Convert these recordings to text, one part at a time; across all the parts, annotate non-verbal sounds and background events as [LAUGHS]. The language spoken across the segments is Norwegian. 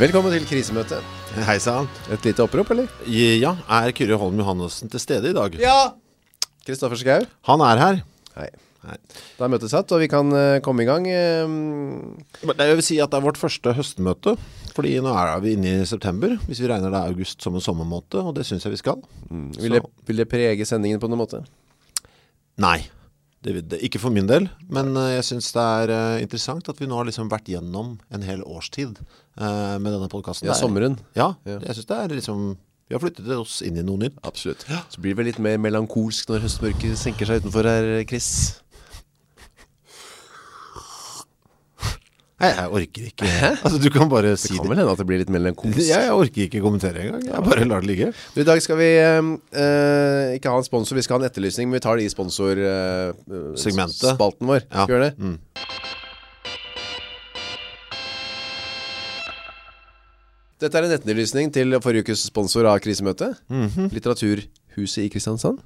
Velkommen til krisemøtet Hei sann. Et lite opprop, eller? Ja, er Kyrre Holm Johannessen til stede i dag? Ja Kristoffer Skau Han er her. Hei Nei. Da er møtet satt, og vi kan eh, komme i gang eh, Men det- Jeg vil si at det er vårt første høstmøte, fordi nå er vi inne i september, hvis vi regner det er august som en sommermåte, og det synes jeg vi skal. vil, det, vil det prege sendingen på noen måte? Nei, det, vil det- ikke for min del, men eh, jeg synes det er eh, interessant at vi nå har liksom vært gjennom en hel årstid eh, med denne podcasten. Ja, Det er- sommeren Ja, Ja. jeg synes det er liksom, vi har flyttet oss inn i noe nytt. Absolutt Så blir det vel litt mer melankolsk når høstmørket senker seg utenfor her, Chris Nei, jeg orker ikke. Altså, du kan bare si Kan det. vel hende at det blir litt [LAUGHS] melankolsk Jeg, jeg orker ikke kommentere engang, jeg bare lar det ligge. Du, I dag skal vi eh, eh, ikke ha en sponsor, vi skal ha en etterlysning, men vi tar det i sponsor... eh, eh, Segmentet. Spalten vår. Ja. Skal Mm. vi gjøre det? Dette er en etterlysning til forrige ukes sponsor av krisemøtet. Mhm. Litteraturhuset i Kristiansand.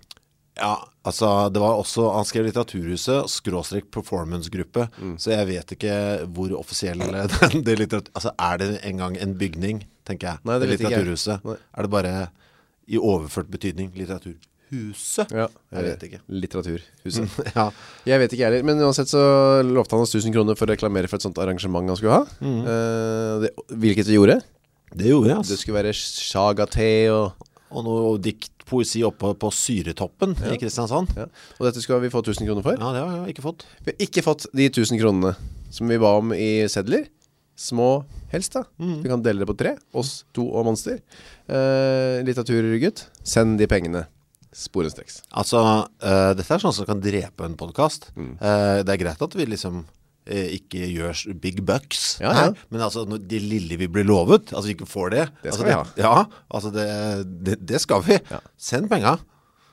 Ja, altså det var også, han skrev litteraturhuset, skråstrek performancegruppe, så jeg vet ikke hvor offisiell eh, [LAUGHS] den, det litteratur, altså er det en gang en bygning, tenker jeg, Nei, det vet ikke jeg. litteraturhuset, Nei. er det bare i overført betydning, litteraturhuset, jeg vet ikke. Eh, Mm. Litteraturhuset. [LAUGHS] Ja, Jeg vet ikke heller, men uansett så lovte han oss 1000 kroner for å reklamere for et sånt arrangement han skulle ha. Mm. Eh, det, hvilket vi gjorde. det gjorde jeg, Det altså. skulle være saga-te og... Og noe dikt, poesi oppe på syretoppen i Kristiansand. Ja. Og dette skulle vi få 1000 kroner for. Ja, det har jeg ikke fått. Vi har ikke fått de 1000 kronene som vi ba om i sedler. Små helst da. Vi kan dele det på tre. Oss, to og monster. Eh, litteraturgutt, send de pengene. Sporenstreks. Altså, eh, dette er sånn som kan drepe en podcast Mm. Eh, Det er greit at vi liksom eh, ikke gjør s- big bucks Ja, ja. her, Men altså, når det lille vi blir lovet Altså, vi ikke får det Det altså, skal vi ha. Ja, altså, det, det, det skal vi Send penger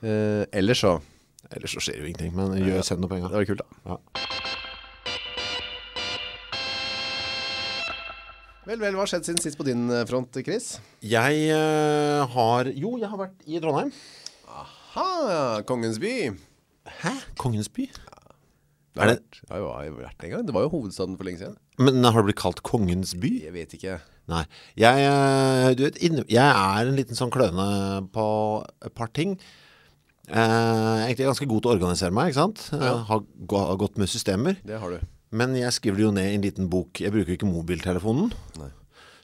Eh, ellers så, Ellers så skjer jo ingenting, men gjør, send noen det penger var kult da. ja. Vel, vel, hva har skjedd siden sist på din eh, front, Chris? Jeg eh, har, jo, jeg har vært i Trondheim Ha, Kongens by. Hæ? Kongens by? Det har Er det- vært- Ja, jo, har jo vært en gang. Det var jo hovedstaden for lenge siden. Men har det blitt kalt Kongens by? Jeg vet ikke. Nei, jeg, eh, du vet, inne- jeg er en liten sånn kløne på et par ting. Eh, egentlig er jeg ganske god til å organisere meg, ikke sant? Eh, har, gå- har gått med systemer. Det har du. Men jeg skriver det jo ned i en liten bok. Jeg bruker ikke mobiltelefonen.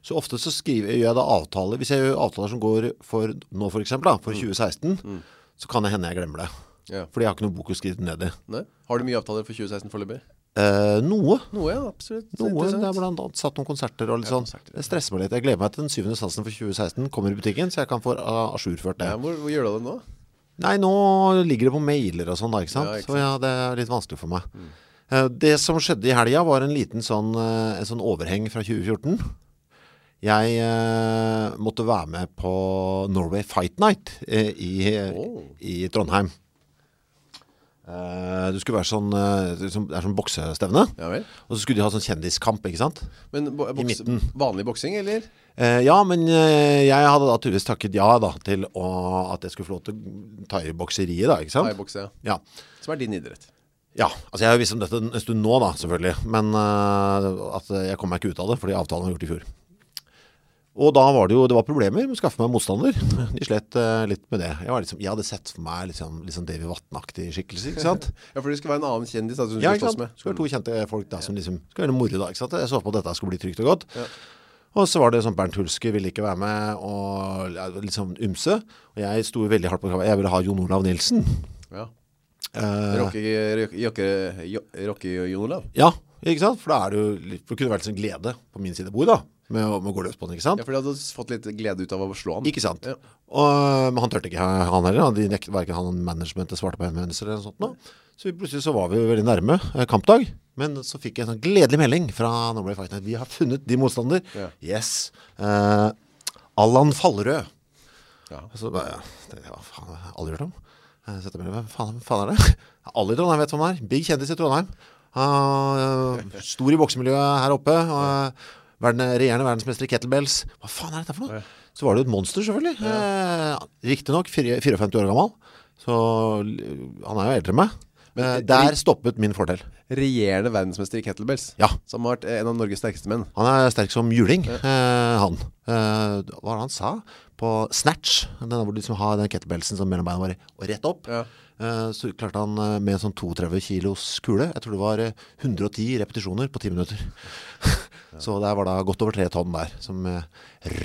Så ofte så skriver, gjør jeg da avtaler. Hvis jeg gjør avtaler som går for nå for eksempel, da, for 2016, så kan det hende jeg glemmer det. Ja. Fordi jeg har ikke noe bok å skrive det ned i. Nei? Har du mye avtaler for 2016 foreløpig? Eh, noe. Noe, ja, absolutt. Noe, det Interessant. er blant annet satt noen konserter og litt sånn konserter, Det stresser meg litt Jeg gleder meg til den syvende sansen for 2016 Kommer i butikken, så jeg kan få uh, asjurført det Ja, hvor, hvor gjør du det nå? Nei, nå ligger det på mailer og sånn da, ikke sant? Ja, ikke Mm. Så ja, det er litt vanskelig for meg Eh, Det som skjedde i helgen var en liten sånn eh, En sånn overheng fra 2014 Jeg eh, måtte være med på Norway Fight Night eh, i, Oh. i Trondheim Eh, Det skulle være sånn eh, Det er sånn- det er sånn boksestevne Ja vel. og så skulle de ha sånn kjendiskamp, ikke sant? Men bo boks- midten. vanlig boksing, eller? Eh, ja, men eh, jeg hadde da tydeligvis takket ja da til å, at jeg skulle få lov til å ta i bokseriet da, ikke Nei, sant? bokse, ja. Ja. Som er din idrett. ja, altså jeg har jo visst om dette en stund nå da, selvfølgelig, men eh, at jeg kom meg ikke ut av det, fordi avtalen var gjort i fjor. Og da var det jo, det var problemer med å skaffe meg motstander. [LAUGHS] De slet eh, litt med det. Jeg, var liksom, jeg hadde sett for meg liksom, liksom David Vattenaktig skikkelse, ikke sant? Ja, for det skal være en annen kjendis da, som du Ja, skal ikke slåss sant? Mm. med. Skal være to kjente folk da, som liksom, skal være moro da, ikke sant? Jeg så på at dette skulle bli trygt og godt. Og så var det sånn, Bernt Hulske ville ikke være med, og ja, litt sånn umse. Og jeg sto jo veldig hardt på kravet. Jeg ville ha Jon Olav Nilsen. Ja. Eh, Rocke, rocke, rocke, rocke Jon Olav. ja, ikke sant? For da er det jo litt, for det kunne vært sånn glede på min side av bordet da, med, å- med å gå løs på den, ikke sant? Ja, for du hadde fått litt glede ut av å slå ham. Ikke sant? Ja. Og, men han tørte ikke han heller, han- de nekte hverken han managementet svarte på henvendelser eller noe sånt. nå. Så vi, plutselig så var vi jo veldig nærme eh, kampdag, men så fikk jeg en sånn gledelig melding fra Norway Fight Night. Vi har funnet de motstander. Ja. Yes. Eh, Allan Fallerød. Ja. Så bare, jeg tenkte, hva faen, jeg har aldri hørt om. Eh, Jeg setter meg ned, hvem faen, hvem faen er det? Alle i Trondheim vet hvem han er. Big kjendis i Trondheim. Han, øh, stor i boksemiljøet her oppe. Og, øh, verden, regjerende verdensmester i kettlebells. Hva faen er dette for noe? Så var det jo et monster selvfølgelig. Eh, Riktig nok, 54 år gammel. Så øh, han er jo eldre enn meg. Eh, Der stoppet min fordel Regjerende verdensmester i kettlebells Ja, Som har vært eh, en av Norges sterkeste menn han er sterk som juling eh, Han Eh, Hva var det han sa? På snatch Den hvor du liksom har den kettlebellsen som mellom beina var i, Og rett opp Ja. eh, Så klarte han eh, med en sånn 32 kilos kule Jeg tror det var eh, 110 repetisjoner på 10 minutter [LAUGHS] Så der var da godt over 3 tonn der Som eh,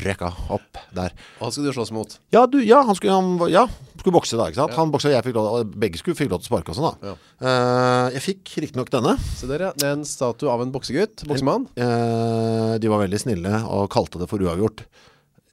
røkka opp der Og han skal du slåss mot Ja, du, ja, han skulle, han, var- ja, skulle bokse da, ikke sant? Han boksa, jeg fikk lov, og begge skulle fikk lov til å sparke og sånn da. Ja. Eh, jeg fikk riktignok denne. Se der ja, det er en statue av en boksegutt Boksemann Eh, de var veldig snille og kalte det for uavgjort.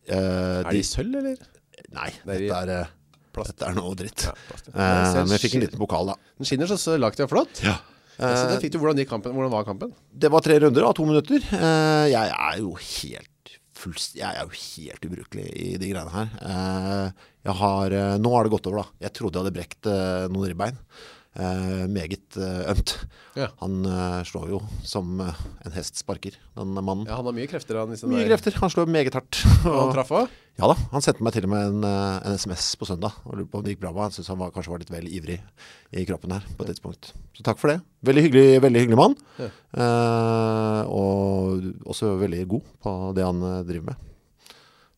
Eh, Er de sølv eller? de- Nei, er de- dette er, eh, dette er noe dritt. plast, ja. Eh, Men men jeg jeg ser fikk en liten pokal da. Den skinner så, så lagt det er flott Ja. Ja, Så den fikk du hvordan, gikk kampen, hvordan var kampen? Det var tre runder av to minutter. Eh, jeg er jo helt fullst... Jeg er jo helt ubrukelig i de greiene her. Eh, jeg har... eh, nå har det gått over da. Jeg trodde jeg hadde brekt eh, noen ribbein. Eh, meget eh, ømt. Ja. Han eh, slår jo som eh, en hest sparker, den mannen. Ja, han har mye krefter han, hvis den Mm. Mye der- krefter, han slår meget hardt. Og [LAUGHS] han traff også Ja da, han sendte meg til og med en, eh, en sms på søndag og lurte på om det gikk bra med han. Han syntes han var, kanskje var litt vel ivrig i kroppen her på et tidspunkt. Så takk for det. Veldig hyggelig, veldig hyggelig mann. Ja. Eh, og også veldig god på det han eh, driver med.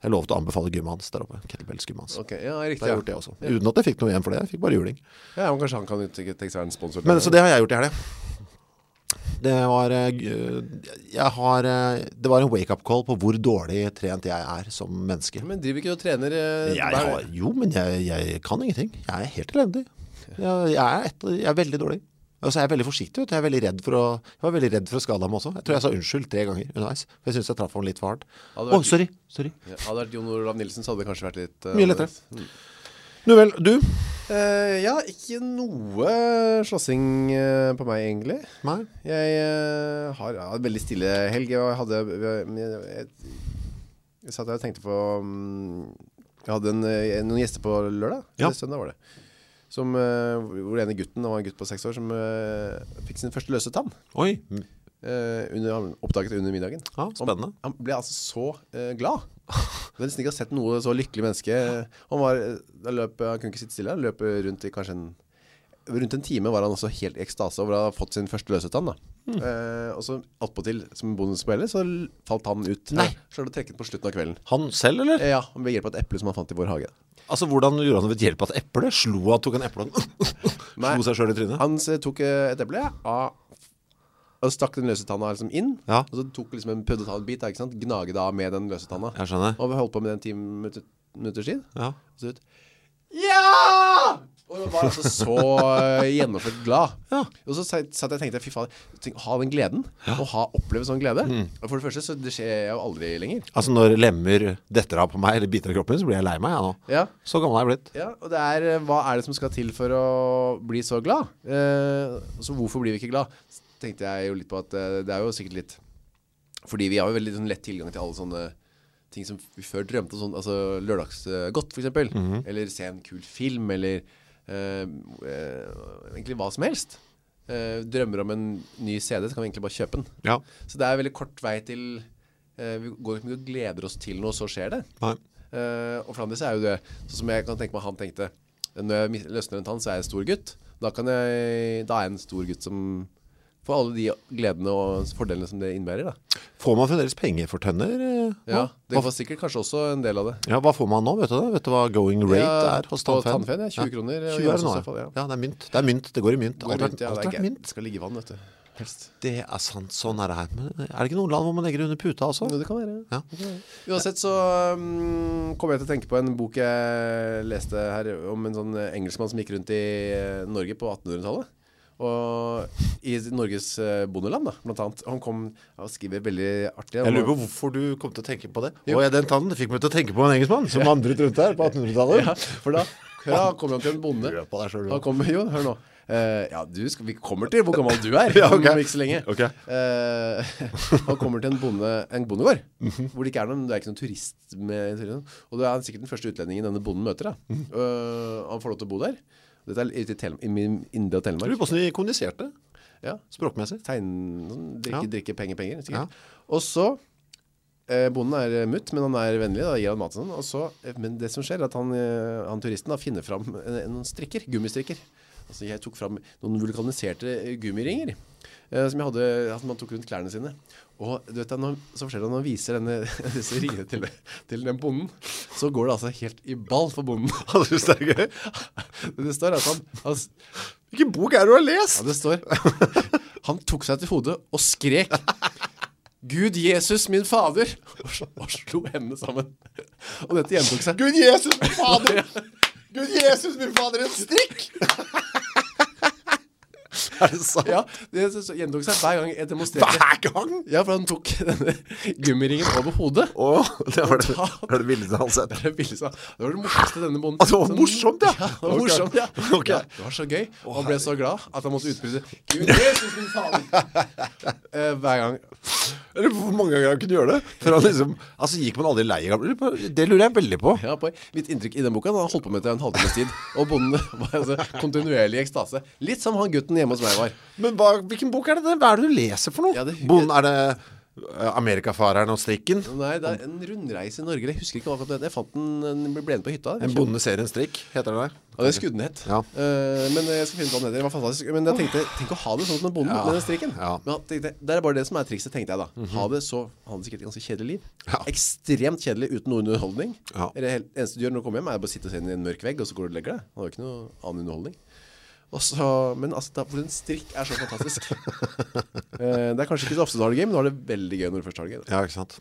Jeg lovet å anbefale gymmet hans der oppe, kettlebellsgymmet hans. Ok, ja, Da riktig ja. har jeg gjort det også. Uten at jeg fikk noe igjen for det, jeg fikk bare juling. Ja, men kanskje han kan uttrykke tenke seg en sponsor til Men det. så det har jeg gjort i helgen. Det var, eh, g- jeg har, eh, det var en wake-up call på hvor dårlig trent jeg er som menneske. Men driver ikke du og trener eh, Jeg hver- har, jo, men jeg, jeg kan ingenting. Jeg er helt elendig. Jeg, jeg, er, et, jeg er veldig dårlig. Og så er jeg veldig forsiktig, vet du. Jeg, er veldig redd for å, jeg var veldig redd for å skade ham også. Jeg tror jeg sa unnskyld tre ganger underveis. For jeg synes jeg traff ham litt for hardt. Å, Hadde vært- sorry, sorry. Ja, Hadde det vært Jon Olav Nilsen så hadde det kanskje vært litt eh, Mye lettere. annerledes. Nu vel, du? Eh, ja, ikke noe slåssing eh, på meg egentlig Nei. Jeg eh, har ja, en veldig stille helg Jeg hadde Jeg, jeg, jeg satt der og tenkte på mm, Jeg hadde en, eh, noen gjester på lørdag Ja. Eller søndag var det som, eh, Hvor den ene gutten, han var en gutt på seks år Som eh, fikk sin første løse tann Oi. eh, under, han Oppdaget under middagen Ja, spennende. han ble altså så eh, glad Jeg har nesten ikke sett noe så lykkelig menneske Han var, eh, han løp, han kunne ikke sitte stille Han løp rundt i kanskje en Rundt en time var han også helt i ekstase Over å ha fått sin første løsetann da Mm. eh, Og så alt på til som bonus på hele Så l- falt han ut Nei. Selv å trekke den på slutten av kvelden Han selv, eller? Eh, Ja, ved hjelp av et eple som han fant i vår hage Altså, hvordan gjorde han det ved hjelp av et eple? Slo han, tok han eple og [LAUGHS] Nei. slo seg selv i trynet? Han eh, tok eh, et eple av og stakk den løse tanna liksom inn Ja. Og så tok liksom en prøvde å ta en bit da, ikke sant? Gnaget av med den løse tanna Jeg skjønner. Og vi holdt på med den 10 minutter, minutter siden Ja. Og så ut Ja! Og jeg var altså så eh, gjennomført glad Ja. Og så satt satt jeg og tenkte Fy faen, tenk, ha den gleden Og ha, oppleve sånn glede Og for det første så det skjer jeg jo aldri lenger Altså, når lemmer detter av på meg, eller biter av kroppen, min, så blir jeg lei meg, jeg nå. Ja, Så gammel er jeg blitt. ja og det er eh, Hva er det som skal til for å bli så glad? Eh, så hvorfor blir vi ikke glad? Så tenkte jeg jo litt på at eh, Det er jo sikkert litt Fordi vi har jo veldig sånn lett tilgang til alle sånne ting som vi før drømte om, sånn, altså lørdagsgodt for eksempel, eller se en kul film, eller eh, eh, egentlig hva som helst. Eh, drømmer om en ny CD, så kan vi egentlig bare kjøpe den. Ja. Så det er veldig kort vei til, eh, vi går ikke mye og gleder oss til noe, så skjer det. Nei. Eh, og for andre så er jo det, sånn som jeg kan tenke meg han tenkte, når jeg mis- løsner en tann, så er jeg en stor gutt. Da, kan jeg, da er jeg en stor gutt som får alle de gledene og fordelene som det innebærer da. Får man fremdeles penger for tønner? eh, nå? Ja, det hva, var sikkert kanskje også en del av det. ja, hva får man nå, vet du det? Vet du hva going rate Ja, er hos på tannfen? tannfen, ja, 20 kroner, Ja, eh, 20 er i det nå, så fall, ja. ja. ja. det er mynt. Det er mynt, det går i mynt. Går Alt er- rundt, ja, det alt er er ikke mynt. Skal ligge i vann, vet du Helst Det er sant, sånn er det her. Men er det ikke noen land hvor man legger det under puta også? det kan være Ja. Uansett så um, kom jeg til å tenke på en bok jeg leste her Om en sånn eh, engelskmann som gikk rundt i eh, Norge på 1800-tallet Og i Norges eh, bondeland da, blant annet Han kom og skriver veldig artig Jeg lurer på hvorfor du kom til å tenke på det. Jo. Og jeg, den tannen fikk meg til å tenke på en engelskmann som vandret rundt her på 1800-tallet. ja, For da, da kom han til en bonde Hør på deg selv, du. Han kommer, jo, hør nå Eh, Ja, du skal, vi kommer til hvor gammel du er [LAUGHS] Ja, ok. Om ikke så lenge Ok. Eh, [LAUGHS] han kommer til en, bonde, en bondegård Hvor det ikke er noen, det er ikke noen turist med, Og det er sikkert den første utlendingen denne bonden møter da. Eh, Han får lov til å bo der Dette er ute i, Tele- i min indre Jeg Telemark lurer på hvordan de kommuniserte ja. språkmessig. Tegn, sånn, drikke, Ja. drikke penger, penger sikkert. Ja. Og så eh, Bonden er eh, mutt, men han er vennlig Da gir han mat og sånn og så, eh, Men det som skjer er at han, eh, han turisten da, finner fram eh, noen strikker, gummistrikker Altså jeg tok fram noen vulkaniserte gummiringer eh, Som jeg hadde, at man tok rundt klærne sine Og du vet da, når, så forskjellig når han viser denne, [LAUGHS] disse ringene til, til den bonden Så går det altså helt i ball for bonden [LAUGHS] Han synes det er gøy Men det står at han, han s- Hvilken bok er det du har Ja, lest? det står [LAUGHS] Han tok seg til hodet og skrek Gud, Jesus, min fader Og, sl- og slo hendene sammen Og dette gjentok seg Gud Jesus, min fader Gud Jesus, min fader, en strikk Er det sant? Ja, det s- s- gjentok seg hver gang jeg demonstrerte Hver gang? Ja, for han tok denne gummiringen over hodet Åh, det var det, det, var det vildeste han har sett Det er billig, sa han. Det var det morsomste denne bonden Ah, det var morsomt, ja. det var Ok. morsomt, ja. [LAUGHS] Ok. ja Det var så gøy Og han ble så glad at han måtte utbryte Gud, Jesus, min [LAUGHS] fader Eh, Hver gang Eller hvor mange ganger han kunne gjøre det For han liksom Altså gikk man aldri lei av Det lurer jeg veldig på Ja, på mitt inntrykk i den boka Han holdt på med det i en halvtimes tid Og bonden var altså kontinuerlig i ekstase Litt som han gutten hjemme hos meg var Men hva, hvilken bok er det? det- Hva er det du leser for noe? Ja, det- Bonden, er det eh, Amerikafareren og strikken? Nei, det er en rundreise i Norge Jeg husker ikke hva akkurat det heter. Jeg fant den, den ble den på hytta En bonde ser en strikk, heter det der Ja, det er skuddenhet Ja. Men jeg skal finne ut hva den heter Det var fantastisk Men jeg tenkte Tenk å ha det sånn som en bonde Ja. Med den strikken Ja. Men jeg tenkte, Det er bare det som er trikset Tenkte jeg da Ha det så Han hadde sikkert et ganske kjedelig liv Ja. Ekstremt kjedelig Uten noe underholdning Ja. Det hel- eneste du gjør når du kommer hjem Er bare å sitte og se inn i en mørk vegg Og så går du og legger deg Han har jo ikke noe annen underholdning Og så- men altså, da, for en strikk er så [LAUGHS] fantastisk Eh, Det er kanskje ikke så ofte du har det gøy Men nå er det veldig gøy når du først har det gøy da. Ja, ikke sant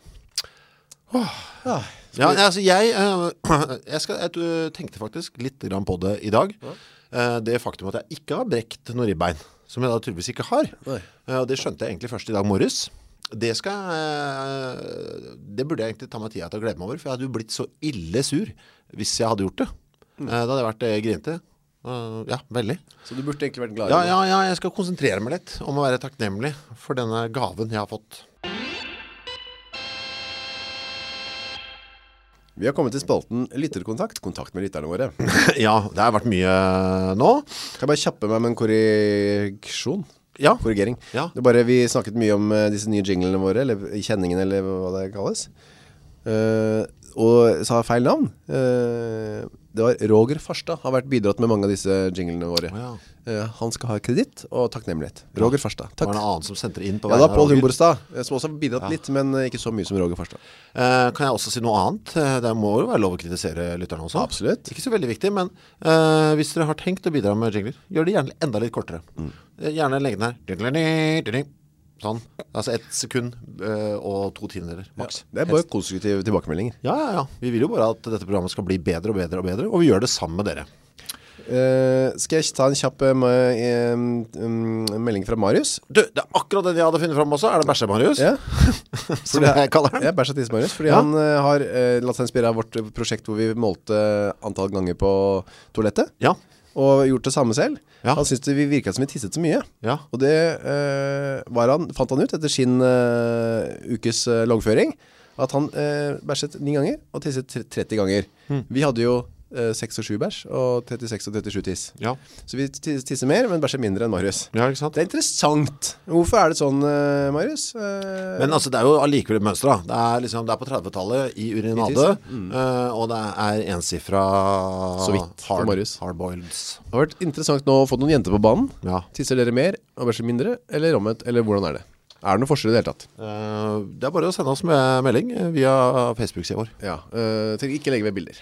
ah, Ja, altså jeg, eh, [CLEARS THROAT] jeg, skal, jeg eh, tenkte faktisk litt grann på det i dag Eh, Det faktum at jeg ikke har brekt noen ribbein Som jeg da tydeligvis ikke har Nei. Eh, Og det skjønte jeg egentlig først i dag morges det, skal, jeg, eh, det burde jeg egentlig ta meg tida til å glede meg over For jeg hadde jo blitt så ille sur Hvis jeg hadde gjort det Mm. Eh, Da hadde jeg vært eh, grinete Eh, Ja, veldig Så du burde egentlig vært glad i Ja, det. ja, ja, jeg skal konsentrere meg litt om å være takknemlig for denne gaven jeg har fått. [LAUGHS] Vi har kommet til spalten Lytterkontakt Kontakt med lytterne våre ja, det har vært mye eh, nå. Kan jeg bare kjappe meg med en korreksjon? Ja. Korrigering. Ja. Det er bare, vi snakket mye om eh, disse nye jinglene våre, eller kjenningene, eller hva det kalles. Eh, og sa feil navn. Eh, det var Roger Farstad har vært bidratt med mange av disse jinglene våre. Å Eh, han skal ha kreditt og takknemlighet. Roger Farstad. Det var Takk. en annen som sendte det inn på Ja, da vegne av Pål Roger. Humborstad, eh, som også har bidratt litt, men eh, ikke så mye som Roger Farstad. Eh, kan jeg også si noe annet? Eh, Det må jo være lov å kritisere lytterne også. Absolutt. Ikke så veldig viktig, men eh, hvis dere har tenkt å bidra med jingler, gjør det gjerne enda litt kortere. Mm. Eh, Gjerne legge den her. Ding-a-ling, ding-a-ling. Sånn. Altså ett sekund eh, og to tiendeler, maks. Det er bare konstruktive tilbakemeldinger. Ja, ja, ja. Vi vil jo bare at dette programmet skal bli bedre og bedre og bedre, og vi gjør det sammen med dere. Eh, skal jeg ta en kjapp eh, ma- eh, mm, melding fra Marius? Du, det er akkurat den jeg hadde funnet fram også Er det bæsje, Marius? Ja. Som jeg kaller den Ja, bæsja tisse, Marius Fordi Ja. han eh, har eh, latt seg inspirere av vårt eh, prosjekt Hvor vi målte antall ganger på toalettet Ja, Og gjort det samme selv Ja. Han syntes det vi virket som vi tisset så mye ja, Og det eh, var han, fant han ut etter sin eh, ukes eh, loggføring At han eh, bæsjet 9 ganger og tisset tre- 30 ganger Hmm. Vi hadde jo eh, 6 og 7 bæsj og 36 og 37 tiss ja, Så vi tis- tisser mer, men bæsjer mindre enn Marius ja ikke sant? Det er interessant Hvorfor er det sånn, eh, Marius? Eh, Men altså, det er jo allikevel et mønster da Det er liksom, det er på 30-tallet i urinade Kritisk, eh, Og det er ensifra Så vidt, for hard, Marius. Hardboils Det har vært interessant nå å få noen jenter på banen Ja Tisser dere mer og bæsjer mindre, eller omvendt, eller hvordan er det? Er det noen forskjell i det hele tatt? Eh, Det er bare å sende oss med melding eh, Via Facebook-siden vår Ja, øh, tenk ikke legge ved bilder.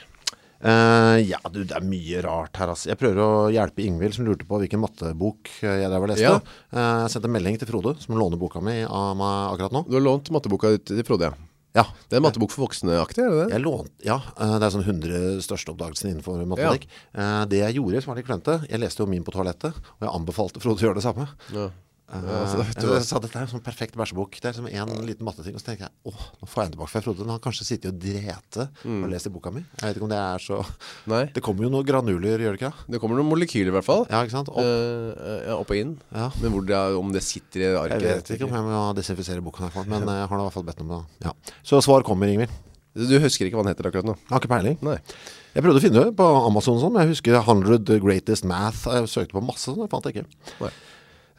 Eh, Ja, du, det er mye rart her altså. Jeg prøver å hjelpe Ingvild som lurte på Hvilken mattebok eh, jeg der var leste Ja. Eh, Jeg sendte en melding til Frode Som låner boka mi av meg akkurat nå Du har lånt matteboka ut til Frode, ja. Ja, Det er en mattebok for voksne-aktig, er det det? Jeg lånte, ja, eh, det er sånn 100 største oppdagelsen innenfor matematikk. Eh, Det jeg gjorde som var litt klønte, jeg leste jo min på toalettet, og jeg anbefalte Frode å gjøre det samme. Ja. Eh, Ja, så da vet du jeg sa dette er en sånn perfekt bæsjebok Det er liksom en liten matteting Og så tenker jeg, åh, nå får jeg den tilbake fra Frode Den har kanskje sittet og drete Mm. og lest i boka mi Jeg vet ikke om det er så [LAUGHS] Nei, Det kommer jo noen granuler, gjør det ikke? det kommer noen molekyler i hvert fall. Ja, ikke sant? Øh, Og øh, ja, opp og inn. Ja. Men hvor det er, om det sitter i arket. jeg vet ikke om jeg må desinfisere boken her for [LAUGHS] den, Men eh, jeg har nå i hvert fall bedt om det da. ja. Så svar kommer, Ingvild Du husker ikke hva den heter akkurat nå? Jeg har ikke peiling Nei. Jeg prøvde å finne det på Amazon og sånn, men jeg husker 100 Greatest Math, jeg søkte på masse sånn, jeg fant det ikke. Nei.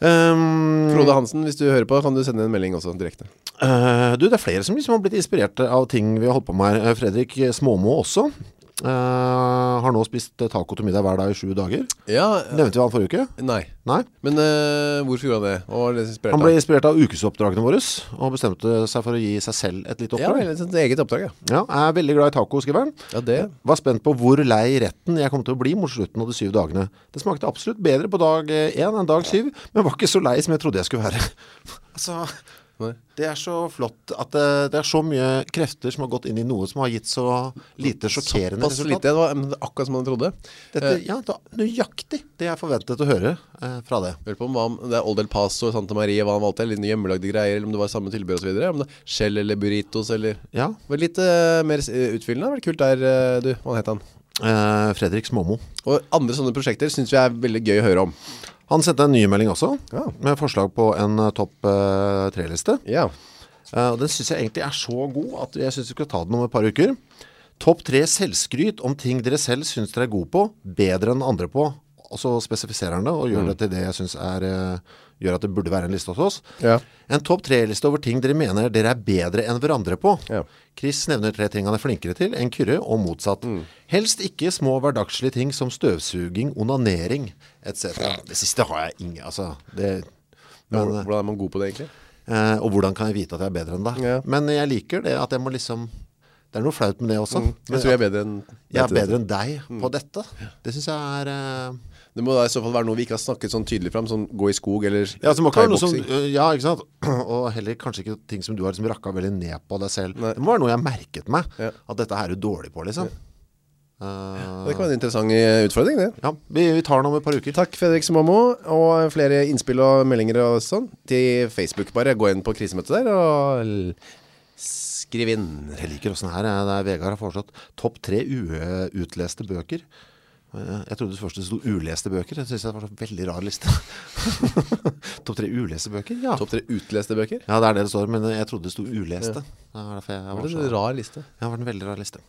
Ehm, Frode Hansen, hvis du hører på, kan du sende en melding også direkte. eh, du, det er flere som liksom har blitt inspirert av ting vi har holdt på med her. Eh, Fredrik Småmo også. eh, har nå spist eh, taco til middag hver dag i sju dager. Ja, Nevnte vi han forrige uke? nei Nei. Men eh, hvorfor gjorde han det? Og var det inspirert Han av? ble inspirert av ukesoppdragene våre, og bestemte seg for å gi seg selv et lite Ja, oppdrag. vel, liksom et eget oppdrag, ja Ja, jeg er veldig glad i taco, skriver han. Ja, det Var spent på hvor lei retten jeg kom til å bli mot slutten av de syv dagene. Det smakte absolutt bedre på dag eh, én enn dag syv, men var ikke så lei som jeg trodde jeg skulle være. [LAUGHS] altså, Nei. det er så flott at det, det er så mye krefter som har gått inn i noe som har gitt så lite sjokkerende Pass lite, Eh. resultat. det var men det er akkurat som han trodde Dette, ja, det var nøyaktig det jeg forventet å høre eh, fra det. Hør på om hva han- det er Old El Paso, Santa Maria, hva han valgte Eller noen hjemmelagde greier, eller om det var samme tilbud og så videre Om det er Shell eller burritos, eller Ja, Det var litt eh, mer eh, utfyllende, det var kult der, eh, du, hva het han eh, Fredrik Småmo. Og andre sånne prosjekter synes vi er veldig gøy å høre om Han sendte en ny melding også, Ja. med forslag på en eh, topp eh, tre-liste. Ja, Eh, Og den synes jeg egentlig er så god at jeg synes vi skal ta den om et par uker. Topp tre selvskryt om ting dere selv synes dere er gode på, bedre enn andre på. Og så spesifiserer han det og gjør det Mm. til det jeg synes er, eh, gjør at det burde være en liste hos oss. Ja. En topp tre-liste over ting dere mener dere er bedre enn hverandre på. Ja. Chris nevner tre ting han er flinkere til, en kyrre og motsatt. Mm. Helst ikke små hverdagslige ting som støvsuging, onanering, etc. Det siste har jeg ingen, altså. Det, men, hvordan er man god på det egentlig? Eh, og hvordan kan jeg vite at jeg er bedre enn deg? Ja. Men jeg liker det at jeg må liksom Det er noe flaut med det også Jeg men tror jeg at er bedre enn Mm. liksom. jeg Mm. er bedre enn deg på dette Det synes jeg er eh, Det må da i så fall være noe vi ikke har snakket sånn tydelig frem Sånn gå i skog eller ja, så må ikke være noe som, thaiboksing. eh, ja, ikke sant? [CLEARS THROAT] Og heller kanskje ikke ting som du har liksom rakka veldig ned på deg selv Nei. Det må være noe jeg har merket meg Ja. At dette her er du dårlig på liksom Eh, Det kan være en interessant eh, utfordring det ja, vi, vi tar den om et par uker Takk Fredrik Somamo Og flere innspill og meldinger og sånn Til Facebook bare Gå inn på krisemøtet der Og l- skriv inn Jeg liker hvordan det her er. Det er Vegard har foreslått topp tre uutleste bøker. Eh, Jeg trodde først det sto uleste bøker. Jeg synes det var en veldig rar liste. [LAUGHS] topp tre uleste bøker? Ja. Topp tre utleste bøker ja, det er det det står, men jeg trodde det sto uleste. Det var derfor jeg Det var er så... en rar liste Ja, det var en veldig rar liste.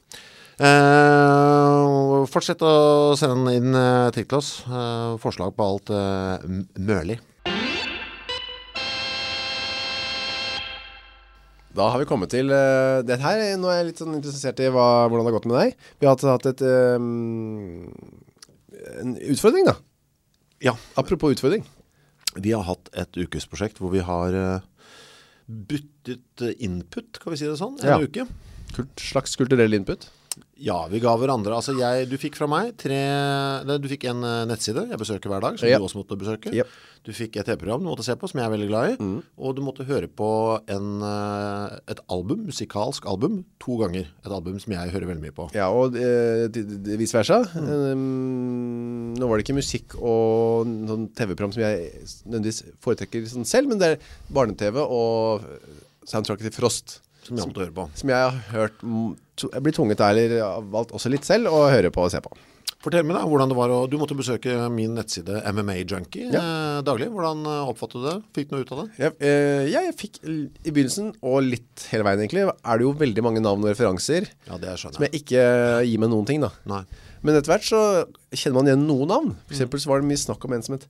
Eh, fortsett å sende inn eh, ting til oss. Eh, forslag på alt eh, m- mølig. Da har vi kommet til eh, det her. Nå er jeg litt sånn interessert i hva, hvordan det har gått med deg. Vi har hatt, hatt et, eh, en utfordring da. Ja, Apropos utfordring. Vi har hatt et ukesprosjekt hvor vi har eh, byttet eh, input, kan vi si det sånn, en Ja. uke. Kult, slags kulturell input. Ja, vi ga hverandre, altså jeg, du fikk fra meg tre, nei, du fikk en eh, nettside jeg besøker hver dag, som Ja. du også måtte besøke. Jep. Du fikk et TV-program du måtte se på, som jeg er veldig glad i, Mm. og du måtte høre på en, eh, et album, musikalsk album, to ganger. Et album som jeg hører veldig mye på. Ja, og eh, d- d- vice versa. Eh, nå var det ikke musikk og n- sånn TV-program som jeg s- nødvendigvis foretrekker sånn selv, men det er barne-TV og soundtracket til Frost, Som jeg måtte høre på. som jeg har hørt, m- to- jeg blir tvunget til, eller har valgt også litt selv, å høre på og se på. Fortell meg da, hvordan det var, å- du måtte besøke min nettside MMA Junkie eh, daglig. Hvordan eh, oppfattet du det? Fikk du noe ut av det? jeg, eh, ja, jeg fikk l- i begynnelsen Og litt hele veien egentlig Er det jo veldig mange navn og referanser Ja, det skjønner Som jeg ikke gir meg noen ting da Nei. Men etter hvert så kjenner man igjen noen navn For eksempel så var det mye snakk om en som het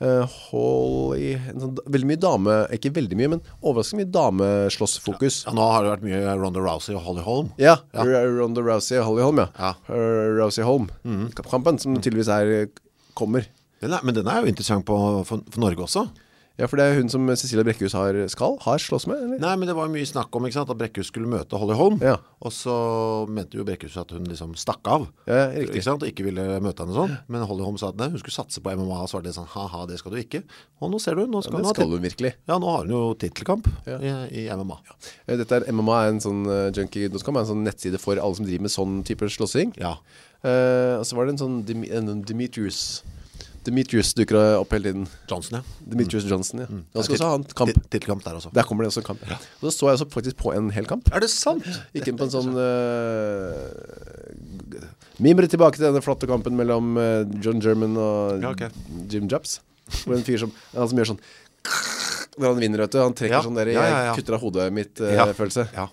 eh, Holly en sånn, da- Veldig mye dame Ikke veldig mye, men overraskende mye dameslåssfokus Ja, nå har det vært mye Ronda Rousey og Holly Holm. ja, R- Ronda Rousey og Holly Holm, ja, Ja. Mm-hmm. Eh, Rousey Holm Kampen som tydeligvis er eh, Kommer Den er, men den er jo interessant på, for, for Norge også. Ja, for det er hun som Cecilia Brekkhus har skal Har slåss med, eller? Nei, men det var jo mye snakk om ikke sant, at Brekkhus skulle møte Holly Holm. Ja. Og så mente jo Brekkhus at hun liksom stakk av. Ja, riktig. Ikke sant, og ikke ville møte henne og sånn. Men Holly Holm sa at nei, hun skulle satse på MMA, og så var det sånn, haha, det skal du ikke. Og nå ser du, nå skal Det hun ha skal tit- hun virkelig Ja, nå har hun jo titelkamp Ja. i, i MMA. Ja. Eh, Dette er MMA, er en sånn eh, junkie.com, er en sånn nettside for alle som driver med sånn type slåssing. Eh, og så var det en sånn Dim en Demetrius. Demetrius dukker opp hele tiden. Johnson, ja. Demetrius Johnson, ja. Han skal Ja, også ha en tit- kamp. tit- Titelkamp der også. Der kommer det også en kamp. Og så så jeg også faktisk på en hel kamp. Er det sant? Ikke på en sånn eh, Mimre tilbake til denne flotte kampen mellom eh, John German og Ja, ok. Jim Japs. Hvor en fyr som, han som gjør sånn når han vinner, vet du, han trekker Ja. sånn der, Ja, ja, ja. jeg kutter av hodet mitt eh, Ja. følelse. Ja.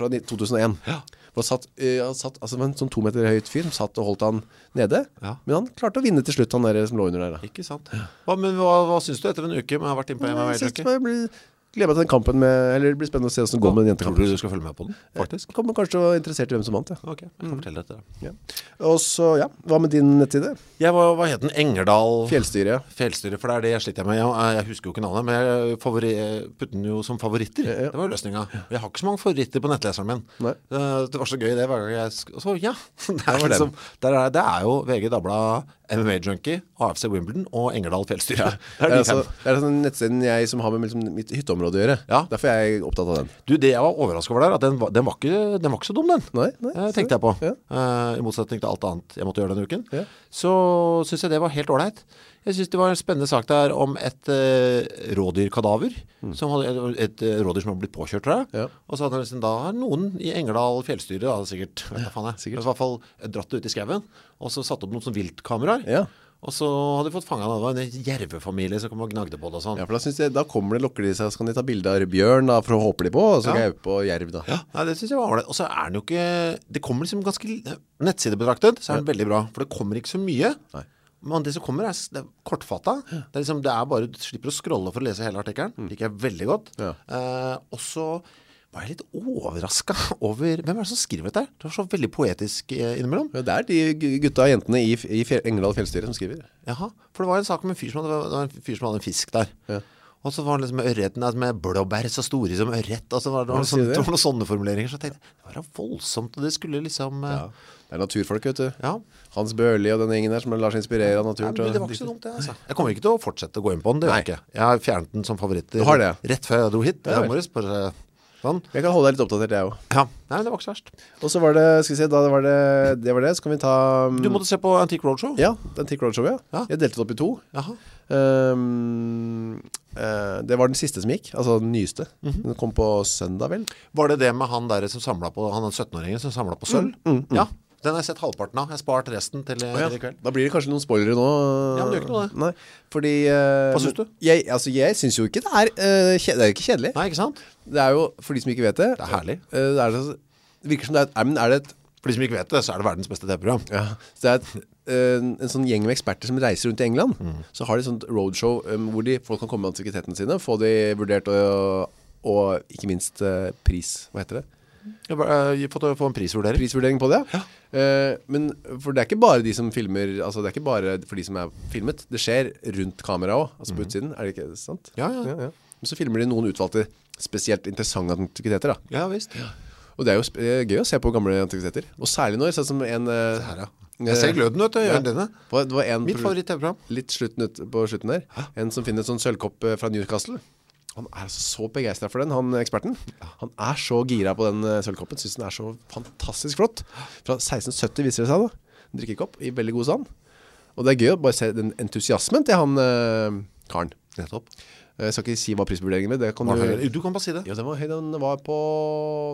fra ni- 2001 Ja. Hvor han satt, eh, han satt, altså, det var en sånn to meter høyt fyr Som satt og holdt han nede Ja. Men han klarte å vinne til slutt Han der som lå under der da. Ikke sant. Hva, men hva, hva synes du etter en uke med å ha vært inne på MMA Jeg synes Junkie? det ble Gleder meg til den kampen med, eller det blir spennende å se hvordan det går med den Tror jentekampen. du du skal følge med på den? Faktisk. Kommer kanskje til å være interessert i hvem som vant, ja. Ok, jeg kan fortelle dette da. ja. Og så, ja, hva med din nettside? Jeg var, hva het den? Engerdal Fjellstyre, ja. Fjellstyre, for det er det jeg sliter med Jeg, jeg husker jo ikke navnet, men jeg eh, favori, putter den jo som favoritter Ja, ja. Det var jo løsningen Jeg har ikke så mange favoritter på nettleseren min Nei. Eh, Det var så gøy det hver gang jeg sk- Og så, ja, [LAUGHS] det er, var den. liksom, der er, det er jo VG Dabla MMA Junkie AFC Wimbledon og Engerdal Fjellstyre Det er, Eh, Det [LAUGHS] er de altså, fem. det er den nettsiden jeg som har med liksom, mitt hytteområde å gjøre. Ja. Derfor er jeg opptatt av den. Du, det jeg var overrasket over der at den, var- den, var ikke, den var ikke så dum den Nei, nei. Eh, ser tenkte jeg på Ja. Eh, I motsetning til alt annet jeg måtte gjøre denne uken Ja. Så synes jeg det var helt ordentlig Jeg synes det var en spennende sak der Om et eh, rådyrkadaver som hadde, Et eh, rådyr som hadde blitt påkjørt tror jeg. Mm. Ja. Og så hadde liksom, da har noen i Engerdal fjellstyre da, Sikkert, vet du faen jeg sikkert. Men I hvert fall eh, dratt det ut i skauen Og så satt opp noen sånn viltkameraer Ja. Og så hadde de fått fanget Det var en jervefamilie som kom og gnagde på det og sånn Ja, for da, synes jeg, da kommer det, lokker de seg, så kan de ta bilder av bjørn da, for å håpe de på, og så Ja. gaupe og jerv da. Ja, nei, det synes jeg var ordentlig Og så er den jo ikke Det kommer liksom ganske Nettsideberaktet Så er den veldig bra For det kommer ikke så mye Nei. Men det som kommer er, s- det er kortfattet Det er liksom Det er bare Du slipper å scrolle for å lese hele artikkelen Det liker jeg veldig godt Mm. Ja. eh, Og så var jeg litt overrasket [LAUGHS] over Hvem er det som skriver dette? her? Det var så veldig poetisk eh, innimellom Ja, Det er de gu- gutta og jentene i, f- i fjell, Engerdal fjellstyre som skriver. Jaha For det var en sak om en fyr som hadde, det var en, fyr som hadde en fisk der Ja. Og så var han liksom med ørreten der Med blåbær så store som ørret Og så var det, Ja, noen sier sånne, det. det var noen sånne formuleringer Så jeg tenkte Det var da voldsomt Og det skulle liksom eh, Ja. Det er naturfolk, vet du. Ja, Hans Børli og den gjengen der som lar seg inspirere av Nei, naturen. til men å- det var ikke så dumt det altså. Jeg kommer ikke til å fortsette å gå inn på den, det gjør jeg ikke Jeg har fjernet den som favoritt Du har det, ja. Rett før jeg dro hit, Ja, ja, vel. morges bare sånn Jeg kan holde deg litt oppdatert, jeg også. Ja, nei, men det var ikke så verst Og så var det, skal vi se, da var det, det var det, så kan vi ta... um, Du måtte se på Antique Roadshow Ja, den Tick Roadshow, ja. Ja. Jeg delte det opp i to. Jaha, Um, eh, det var den siste som gikk, altså den nyeste. Mhm. Den kom på søndag, vel? var det det med han der som samlet på Han er 17-åringen som samlet på sølv Ja, den har jeg sett halvparten av Jeg har spart resten til, til i kveld Da blir det kanskje noen spoilere nå Ja, men det gjør ikke noe, det. Nei, fordi eh, Hva synes du? Jeg, altså, jeg synes jo ikke det er eh, kje- Det er jo ikke kjedelig Nei, ikke sant? Det er jo, for de som ikke vet det Det er herlig eh, det, er, så- det virker som det er, et- er, men er det et For de som ikke vet det, så er det verdens beste TV-program ja, så det er et, eh, en, en sånn gjeng med eksperter som reiser rundt i England Mm. Så har de et sånt roadshow em, Hvor de, folk kan komme med antikvitetene sine Få de vurdert eh, og, og ikke minst eh, pris Hva heter det? Jeg har bare, eh, fått få en prisvurdering prisvurdering på det ja. Eh, Men for det er ikke bare de som filmer Altså det er ikke bare for de som er filmet Det skjer rundt kamera også Altså på utsiden, er det ikke sant? Mhm. Ja, ja. Men så filmer de noen utvalgte spesielt interessante antikviteter da Ja, visst Og det er jo sp- eh, gøy å se på gamle antikviteter Og særlig nå, sånn som en eh, Her, ja eh, Jeg ser gløden, vet du, i ja. øynene dine. Hva- Det var en Mitt på- favoritt TV-program Litt slutten ut, på slutten der En som finner en sånn sølvkopp eh, fra Newcastle han er altså så begeistret for den, han eksperten Han er så gira på den eh, sølvkoppen Synes den er så fantastisk flott Fra 1670 viser det seg da En drikkekopp i veldig god stand Og det er gøy å bare se den entusiasmen til han eh, Karen Nettopp Eh, Jeg skal ikke si hva prisvurderingen ble det kan Var du, det høyere? Du kan bare si det ja, den, var, høy, den var på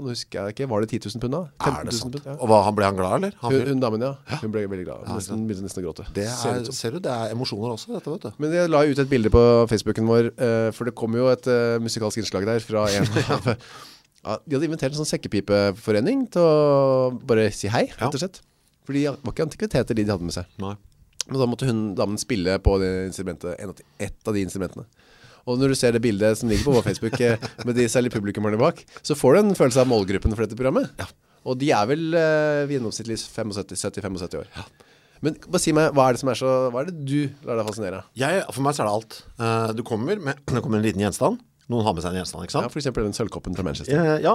Nå husker jeg ikke, var det 10 000 pund da? Er 15 det 000 sant? pund, ja. Og hva, han ble han glad, eller? hun, Han fyren? hun damen ja, hun ble veldig glad Ja, Nesten, Begynte nesten å gråte det Ser ut er, som. ser du, det er emosjoner også, dette, vet du. Men jeg la jo ut et bilde på Facebooken vår eh, For det kom jo et eh, musikalsk innslag der Fra [LAUGHS] en av ja, De hadde inventert en sånn sekkepipeforening Til å bare si hei, Ja. rett og slett Fordi det var ikke antikviteter de de hadde med seg Nei. Men da måtte hun, damen spille på det instrumentet en av de- Et av de instrumentene og når du ser det bildet som ligger på vår Facebook [LAUGHS] eh, Med de særlig publikummerne bak Så får du en følelse av målgruppen for dette programmet Ja. Og de er vel eh, ved gjennomsnittlig 75-75 år Men bare si meg, hva er det som er så Hva er det du lar deg fascinere av? Jeg, for meg så er det alt. Eh, Du kommer med [CLEARS THROAT] det kommer en liten gjenstand. Noen har med seg en gjenstand, ikke Ja, sant? for eksempel den sølvkoppen fra Manchester Ja. ja.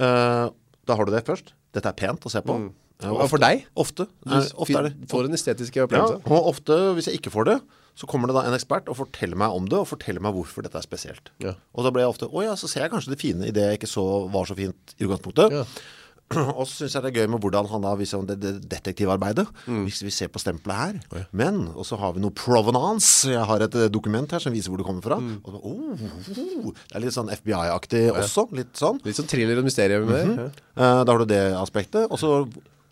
Eh, Da har du det først. Dette er pent å se på. Eh, Og for deg? Ofte. Mm. Du Eh, Ofte fin- er det. Får en estetisk Ja, opplevelse og ofte, hvis jeg ikke får det, så kommer det da en ekspert og forteller meg om det, og forteller meg hvorfor dette er spesielt. Ja. Og da blir jeg ofte, åja, så ser jeg kanskje det fine i det jeg ikke så var så fint i utgangspunktet. Ja. [CLEARS THROAT] Og så synes jeg det er gøy med hvordan han da viser om det, det detektivarbeidet, Mm. hvis vi ser på stempelet her. Men, og så har vi noe provenance, jeg har et eh, dokument her som viser hvor det kommer fra. Mm. Og så, oh, oh, det er litt sånn FBI-aktig også, litt sånn. Litt sånn thriller og mysterium med det. Eh, Da har du det aspektet Og så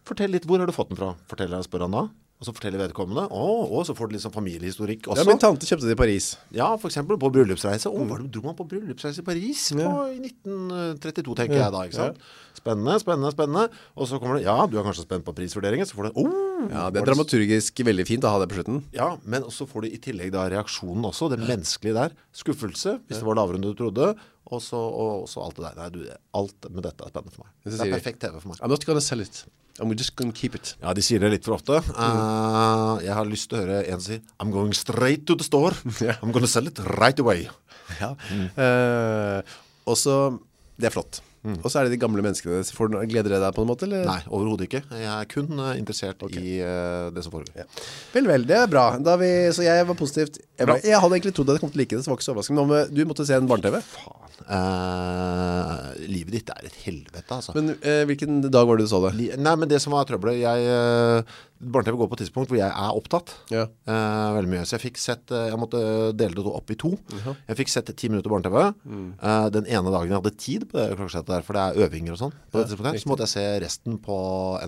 fortell litt, hvor har du fått den fra? Fortell deg, spør han da Og så forteller vedkommende, å, og så får du liksom familiehistorikk Ja, Mm. også. min tante kjøpte det i Paris Ja, for eksempel på bryllupsreise. Åh, var det dro man på bryllupsreise i Paris på, i 1932, tenker jeg da, ikke sant? Spennende, spennende, spennende. Og så kommer det, ja, du er kanskje spent på prisvurderingen, så får du, åh! Ja, det er dramaturgisk veldig fint å ha det på slutten Ja, men så får du i tillegg da reaksjonen også, det menneskelige der, skuffelse, hvis det var lavere enn du trodde, og så, og så alt det der. Nei, du, det- alt med dette er spennende for meg. Det Det sier er de. perfekt TV for meg. I'm not gonna sell it I'm just gonna keep it Ja, de sier det litt for ofte. Eh, jeg har lyst til å høre en si, I'm going straight to the store. I'm going to sell it right away. Mm. Ja Eh, Og så, det er flott Og så er det de gamle menneskene Får du gleder deg der på en måte, eller? Nei, overhodet ikke. Jeg er kun eh, interessert i eh, det som foregår. Vel, vel, det er bra Da vi, Så jeg var positivt jeg, var, jeg hadde egentlig trodd at jeg kom til å like det Så det var ikke så overraskende Men om, eh, du måtte se en barne-tv Faen. Eh, livet ditt er et helvete, altså. Men eh, hvilken dag var det du så det? Li- Nei, men det som var trøbbelet, jeg... Uh, Barne-TV går på et tidspunkt hvor jeg er opptatt Ja. eh, Veldig mye Så jeg fikk sett eh, Jeg måtte dele det opp i to Jeg fikk sett ti minutter barne-TV Eh, Den ene dagen jeg hadde tid på det klokkeslettet der For det er øvinger og sånn På det tidspunktet her, Så måtte jeg se resten på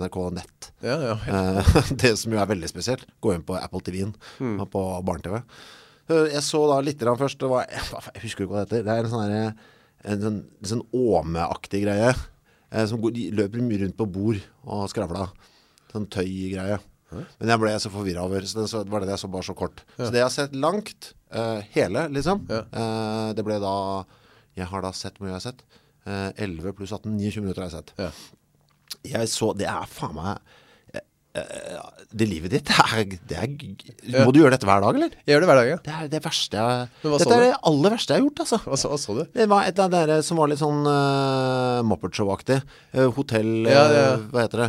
NRK Nett Ja, ja, ja. Eh, [LAUGHS] Det som jo er veldig spesielt Gå inn på Apple TV-en På barne-tv Eh, Jeg så da litt grann først det var, [LAUGHS] Jeg husker ikke hva det heter Det er en sånn der, En sånn, en sånn åmeaktig greie eh, Som går, de løper mye rundt på bord Og skravla Sånn tøy-greie Men jeg ble så forvirret over Så det så, var det jeg så bare så kort Så det jeg har sett langt eh, Hele liksom eh, Det ble da Jeg har da sett hvor mye jeg har sett Eh, 11 pluss 18, 29 minutter har jeg sett Ja. jeg så, det er faen meg eh, Det livet ditt [LAUGHS] er, det er g- Må du gjøre dette hver dag, eller? Jeg gjør det hver dag, ja Det er det verste jeg, Men hva Dette så er du? det aller verste jeg har gjort, altså [LAUGHS] Hva så, hva så du? det var et av dere som var litt sånn uh, Muppet Show-aktig Eh, Hotell, eh, Ja, ja. hva heter det?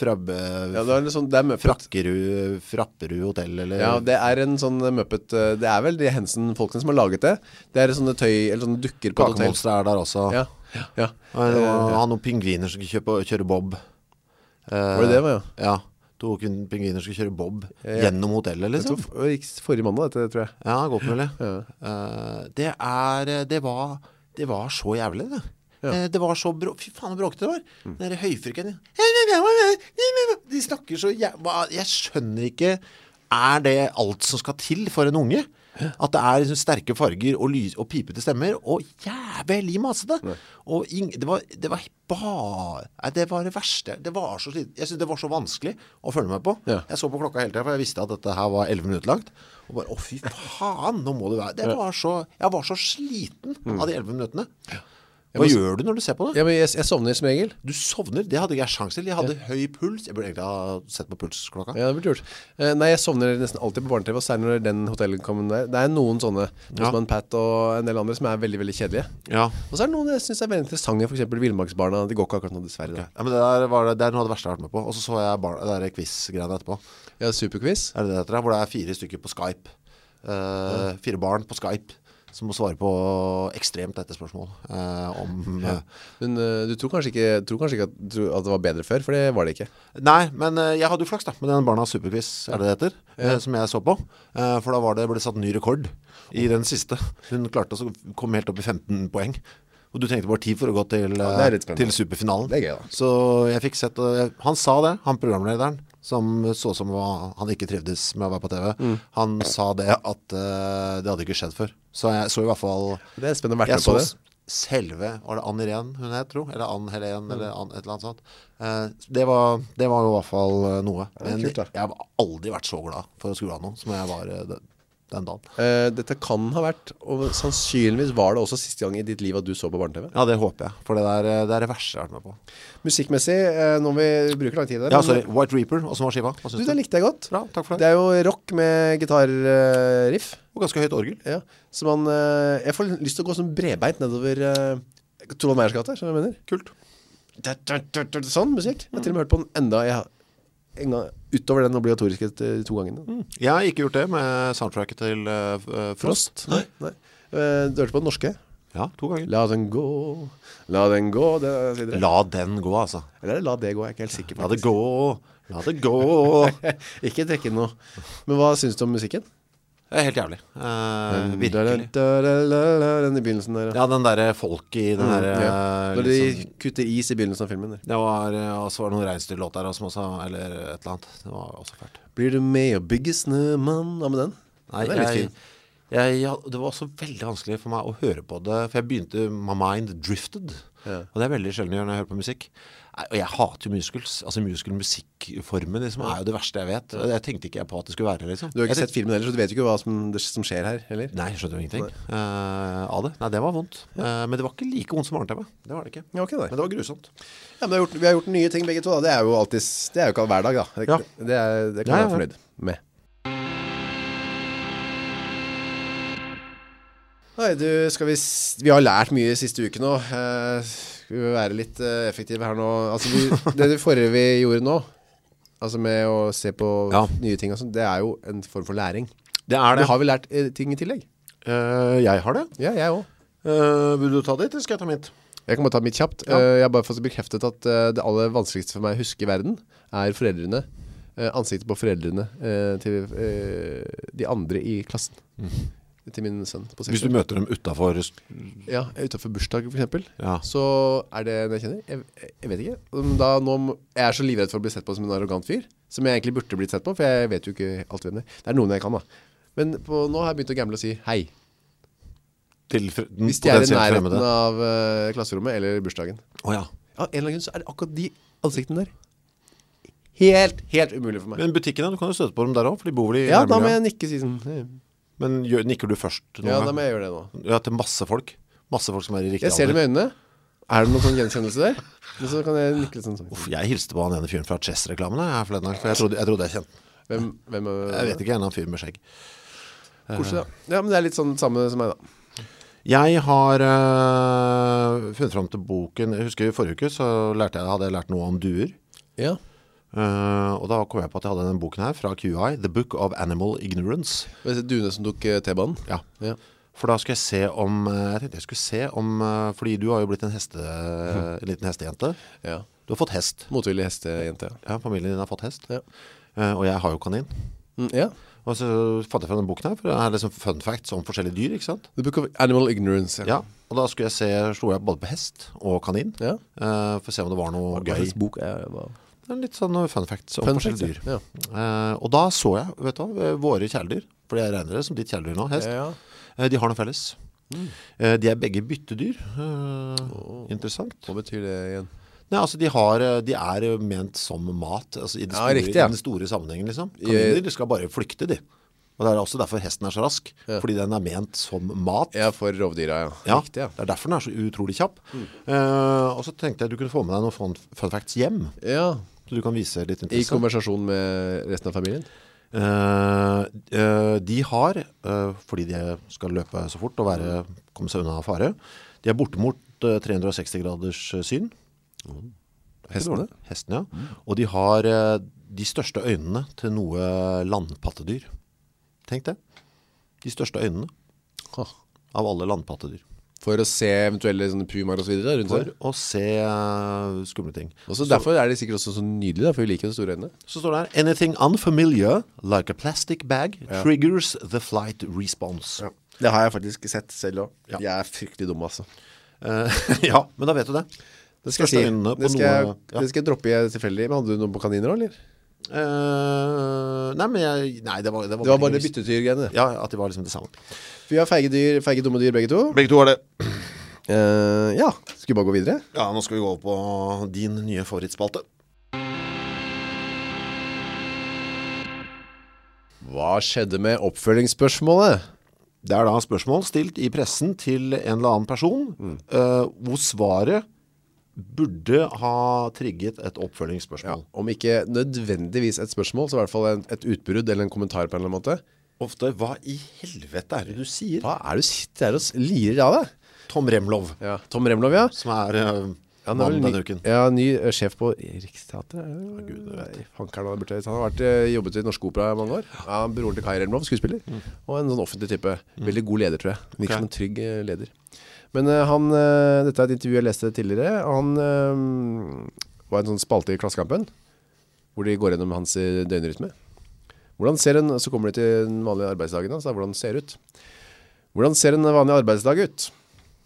Frabbe, Ja, det er en sånn, det er Muppet Frakkerud, Frapperud Hotel eller, Ja, det er en sånn Muppet eh, Det er vel de Hensen-folkene som har laget det Det er sånne tøy, eller sånne dukker på et hotell Kakemonster er der også Ja, ja, ja. Og det var- Han og noen pingviner som skulle kjøpe, kjøre bob Eh, Eh, Var det det, var, Ja, to kun- pingviner skulle kjøre bob ja. Gjennom hotellet Det liksom var f- det gikk forrige mandag, dette, tror jeg Ja, godt mulig. Eh, det er det var, det var så jævlig, det. Eh, Det var så brå... Fy faen, så bråkete det var. Den der høyfrykken. De snakker så jævla Jeg skjønner ikke Er det alt som skal til for en unge? At det er liksom sterke farger og, lys, og pipete stemmer Og jævlig masete Og ing, det, var, det var bare Nei, det var det verste Det var så slit Jeg synes det var så vanskelig Å følge meg på Ja. jeg så på klokka hele tiden, for jeg visste at dette her var 11 minutter langt. Og bare, å fy faen, nå må det være. Det var så, jeg var så sliten av de 11 minuttene. Hva gjør du når du ser på det? ja, men jeg, jeg sovner som regel Du sovner, det hadde ikke jeg sjans til. Jeg hadde høy puls. Jeg burde egentlig ha sett på pulsklokka. Ja, det burde gjort Eh, Nei, jeg sovner nesten alltid på barne-tv Og særlig når den hotellet kommer der Det er noen sånne Postman Pat og en del andre Som er veldig, veldig kjedelige Ja. Og så er det noen jeg synes er veldig interessante For eksempel Vildmarksbarna Det går ikke akkurat nå dessverre da. men det der var det, det er noe av det verste jeg har vært med på. Og så så jeg bar, det der quiz-greiene etterpå. Ja, superquiz Er det det heter? da? Hvor det er fire stykker på Skype. Eh, fire barn på Skype som må svare på ekstremt dette spørsmål eh, om... eh, Men eh, du tror kanskje ikke, tror kanskje ikke at, tror at det var bedre før For det var det ikke Nei, men eh, jeg hadde jo flaks da Med den barnas superquiz, er det det heter eh, Som jeg så på Eh, For da var det, ble det satt ny rekord I den siste Hun klarte å komme helt opp i 15 poeng Og du trengte bare 10 for å gå til, det er eh, litt spennende. til superfinalen Det er gøy da. Så jeg fikk sett og jeg- Han sa det, han programlederen Som så som hva han ikke trivdes med å være på TV Mm. Han sa det at eh, Det hadde ikke skjedd før Så jeg så i hvert fall Det er spennende å være jeg med på så det s- selve, var det Ann Irene hun het, tro? Eller Ann Helene, eller Mm. Ann, et eller annet sånt. Eh, det, var, det var jo i hvert fall eh, noe. Men kult, da. jeg har aldri vært så glad for å skru av noe som jeg var eh, den, den dagen. Eh, Dette kan ha vært Og sannsynligvis var det også siste gang i ditt liv At du så på barne-tv Ja, det håper jeg, for det, der, eh, det er det verste jeg har vært med på. Musikkmessig, eh, nå må vi bruke lang tid der Ja, men- sorry, White Reaper, og som var skiva. Hva Du, syns det du? likte jeg godt Bra, takk for det. Det er jo rock med gitarriff Og ganske høyt orgel. ja. Så man, eh, jeg får lyst til å gå sånn bredbeint nedover eh, Torvald Meyers gate, skjønner du hva jeg Kult. mener Sånn musikk Jeg har til og med hørt på den enda jeg, en gang, Utover den obligatoriske eh, to gangene Jeg har ikke gjort det med soundtracket til eh, f- eh, Frost Frost. Nei, Nei. Eh, Du hørte på den norske Ja, to ganger. La den gå La den gå det, og så videre. La den gå, altså. Eller la det gå, jeg er ikke helt sikker på La det gå, la det gå. [LAUGHS] Ikke trekke inn noe Men hva synes du om musikken? Det er helt jævlig Eh, Virkelig Den i begynnelsen der ja. Mm, Ja, den der folk i den der ja. eh, Når de litt sånn- kutter is i begynnelsen av filmen der. Det var, eh, og så var det noen regnstyrlåt der som også, Eller et eller annet Det var også fælt Blir du med og bygge snømann? Hva med den? Nei, den er litt jeg, fin jeg, ja, det var også veldig vanskelig for meg å høre på det, for jeg begynte, my mind drifted, Ja. og det er veldig sjelden jeg gjør når jeg hører på musikk. Nei, Og jeg hater jo musicals, altså musical-musikkformen liksom, er jo det verste jeg vet. Jeg tenkte ikke på at det skulle være det, liksom. Du har ikke Jeg sett filmen heller, så du vet jo ikke hva som, det, som skjer her heller. tenkte- Nei, jeg skjønte jo ingenting eh, av det. Nei, det var vondt. Eh, men det var ikke like vondt som Arne-TV. Det var det ikke. Ja, ok, nei. Men det var grusomt. Ja, men vi har, gjort, vi har gjort nye ting begge to da. Det er jo alltid, det er jo ikke hver dag da Det, Ja. det, er, det kan jeg Ja, ja, være ja. fornøyd med Nei, du, skal vi s- Vi har lært mye siste uke nå Eh, Skal vi være litt eh, effektive her nå Altså, vi, [LAUGHS] det forrige vi gjorde nå Altså med å se på Ja. nye ting og sånt Det er jo en form for læring Det er Men det. har vi lært eh, ting i tillegg? Eh, jeg har det. Ja, jeg også Eh, vil du ta ditt, eller skal jeg ta mitt? Jeg kan bare ta mitt kjapt Ja. Eh, Jeg har bare fått bekreftet at eh, det aller vanskeligste for meg å huske i verden Er foreldrene eh, Ansiktet på foreldrene eh, Til eh, de andre i klassen Til min sønn på seks Mhm. Hvis du år. møter dem utenfor... Ja, utenfor bursdag for eksempel Ja. Så er det en jeg kjenner Jeg, jeg vet ikke Men da, nå, må- Jeg er så livredd for å bli sett på som en arrogant fyr Som jeg egentlig burde blitt sett på For jeg vet jo ikke alt hvem det er Det er noen jeg kan da Men på, nå har jeg begynt å gamble og si hei Til fre- den Hvis de er i Mm, potensielt nærheten fremmede. av eh, klasserommet Eller bursdagen Å ja. Ja, en eller annen grunn så er det akkurat de ansiktene der Helt, helt umulig for meg Men butikkene, du kan jo støte på dem der også, for de bor vel i Ja, da må nærmiljøet. jeg nikke si sånn «Hei». Men gjør, nikker du først noen Ja, da gang? må jeg gjøre det nå Ja, til masse folk. Masse folk som er i riktig Jeg ser det med øynene Er det noen sånn gjenkjennelse der? Men så kan jeg nikke litt sånn sånn Uff, jeg hilste på han ene fyren fra Chess-reklamene her forleden dag, for jeg trodde jeg, trodde jeg kjente den. Hvem, hvem er Jeg vet ikke, en eller annen fyr med skjegg. Koselig da Ja, men det er litt sånn samme som meg da Jeg har øh, funnet fram til boken, jeg husker i forrige uke så lærte jeg, hadde jeg lært noe om duer. Ja Øh, og da kom jeg på at jeg hadde denne boken her fra QI, The Book of Animal Ignorance. Var det Dune som tok eh, T-banen? Ja. Ja For da skal jeg se om, øh, jeg tenkte jeg skulle se om, øh, fordi du har jo blitt en, heste, Mhm. en liten hestejente. Ja Du har fått hest. Motvillig hestejente Ja, familien din har fått hest Ja Eh, Og jeg har jo kanin mm, Ja Og så fant jeg fra denne boken her For det er liksom fun facts om forskjellige dyr, ikke sant? The Book of Animal Ignorance Ja, og da skulle jeg se Slo jeg både på hest og kanin Ja eh, For å se om det var noe Hva gøy slags bok er det? hva- Det er Litt sånn fun facts om Fun forskjellige facts, dyr ja. Eh, Og da så jeg, vet du hva eh, Våre kjæledyr For jeg regner det som ditt kjæledyr nå, hest Ja, Mm. ja. Eh, De har noe felles Eh, De er begge byttedyr eh, Interessant Hva betyr det igjen? Nei, altså de, har, de er jo ment som mat altså i, den Ja, store, riktig, ja. I den store sammenhengen liksom Kaniner de skal bare flykte de Og det er også derfor hesten er så rask Fordi den er ment som mat Ja, for rovdyra, ja Ja, Riktig, ja Mm. det er derfor den er så utrolig kjapp Eh, Og så tenkte jeg du kunne få med deg noen fun, fun facts hjem Ja Så du kan vise litt I interesse konversasjon med resten av familien? Eh, eh, De har, eh, fordi de skal løpe så fort Og være, komme seg unna fare De er bortimot eh, 360 graders eh, syn Hestene? Hesten, ja. Og de har eh, de største øynene til noe landpattedyr. Tenk det. De største øynene Ha. av alle landpattedyr. For å se eventuelle sånne pumaer og så videre rundt For her. å se eh, skumle ting. Og så derfor er de sikkert også så nydelige, da, for vi liker jo de store øynene. Så står det her, anything unfamiliar, like a plastic bag, triggers the flight response. Ja. Det har jeg faktisk sett selv òg. Ja. Jeg er fryktelig dum, altså. Eh, [LAUGHS] ja, men da vet du det. Det skal Største jeg si. øynene på Det skal, jeg, noe- ja. det skal jeg droppe i tilfeldig. Men hadde du noe på kaniner òg, eller? Eh, nei, men jeg, nei, det var, det var, Det var bare det heldigvis- byttetyrgreiene. Ja, at de var liksom det samme. Vi har feige dyr, feige dumme dyr, begge to. Begge to var det. Eh, ja, skal vi bare gå videre? Ja, nå skal vi gå over på din nye favorittspalte. Hva skjedde med oppfølgingsspørsmålet? Det er da spørsmål stilt i pressen til en eller annen person, eh, hvor svaret burde ha trigget et oppfølgingsspørsmål. Om ikke nødvendigvis et spørsmål, så i hvert fall en, et utbrudd eller en kommentar på en eller annen måte. Ofte, hva i helvete er det du sier? Hva er det du sitter her og s- lirer av deg? Tom Remlov, Ja. Tom Remlov, ja. som er uh, Han er mannen vel denne ny, uken. ja, ny eh, sjef på Riksteater Fankeren han burde jeg Han har vært, eh, jobbet i Norsk Opera i mange år ja, Broren til Kai Remlov, skuespiller Og en sånn offentlig type Veldig god leder, tror jeg Virker som en trygg eh, leder Men eh, han, eh, dette er et intervju jeg leste tidligere Han eh, var en sånn spalte i klassekampen Hvor de går gjennom hans eh, døgnrytme Hvordan ser en, så kommer det til den vanlige arbeidsdagen hans, da, hvordan ser det ut? Hvordan ser en vanlig arbeidsdag ut?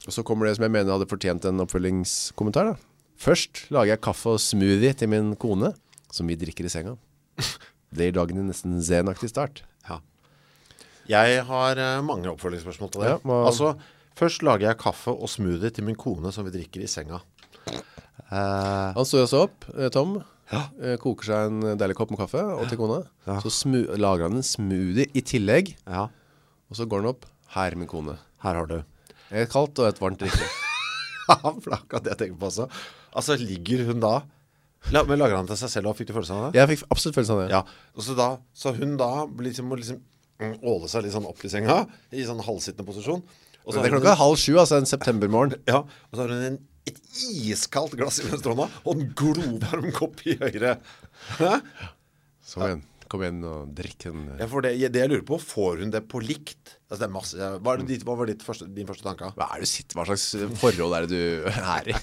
Og så kommer det som jeg mener hadde fortjent en oppfølgingskommentar da. Først lager jeg kaffe og smoothie til min kone, som vi drikker i [LAUGHS] senga. Det gir dagen en nesten zenaktig start. Ja. Jeg har eh, mange oppfølgingsspørsmål til det. Ja, hva- Altså, først lager jeg kaffe og smoothie til min kone som vi drikker i senga. Eh, Han står også opp, eh, Tom, Ja. eh, koker seg en deilig kopp med kaffe, og til kona. Så smu- lager han en smoothie i tillegg, ja, og så går han opp. Her, min kone. her har du. [LAUGHS] Et kaldt og et varmt drikke. Flakka, det jeg tenker på også. Altså, ligger hun da... La, men lager han til seg selv og fikk du følelsen av det? [LAUGHS] Jeg fikk absolutt følelsen av det. Ja, og så, da, så hun da blir liksom, må liksom mm, åle seg litt sånn opp i senga, i sånn halvsittende posisjon. Og Det er så har hun- klokka halv sju, altså en septembermorgen. Ja, og så har hun en, et iskaldt glass i venstre hånda, og en glovarm kopp i høyre. Hæ? Så kom igjen, kom igjen og drikk en... Ja, for det, det jeg lurer på, får hun det på likt? Altså, det er masse, hva, er det, ditt- hva var ditt første, din første tanke? Hva er det du sitter, hva slags forhold er det du er i?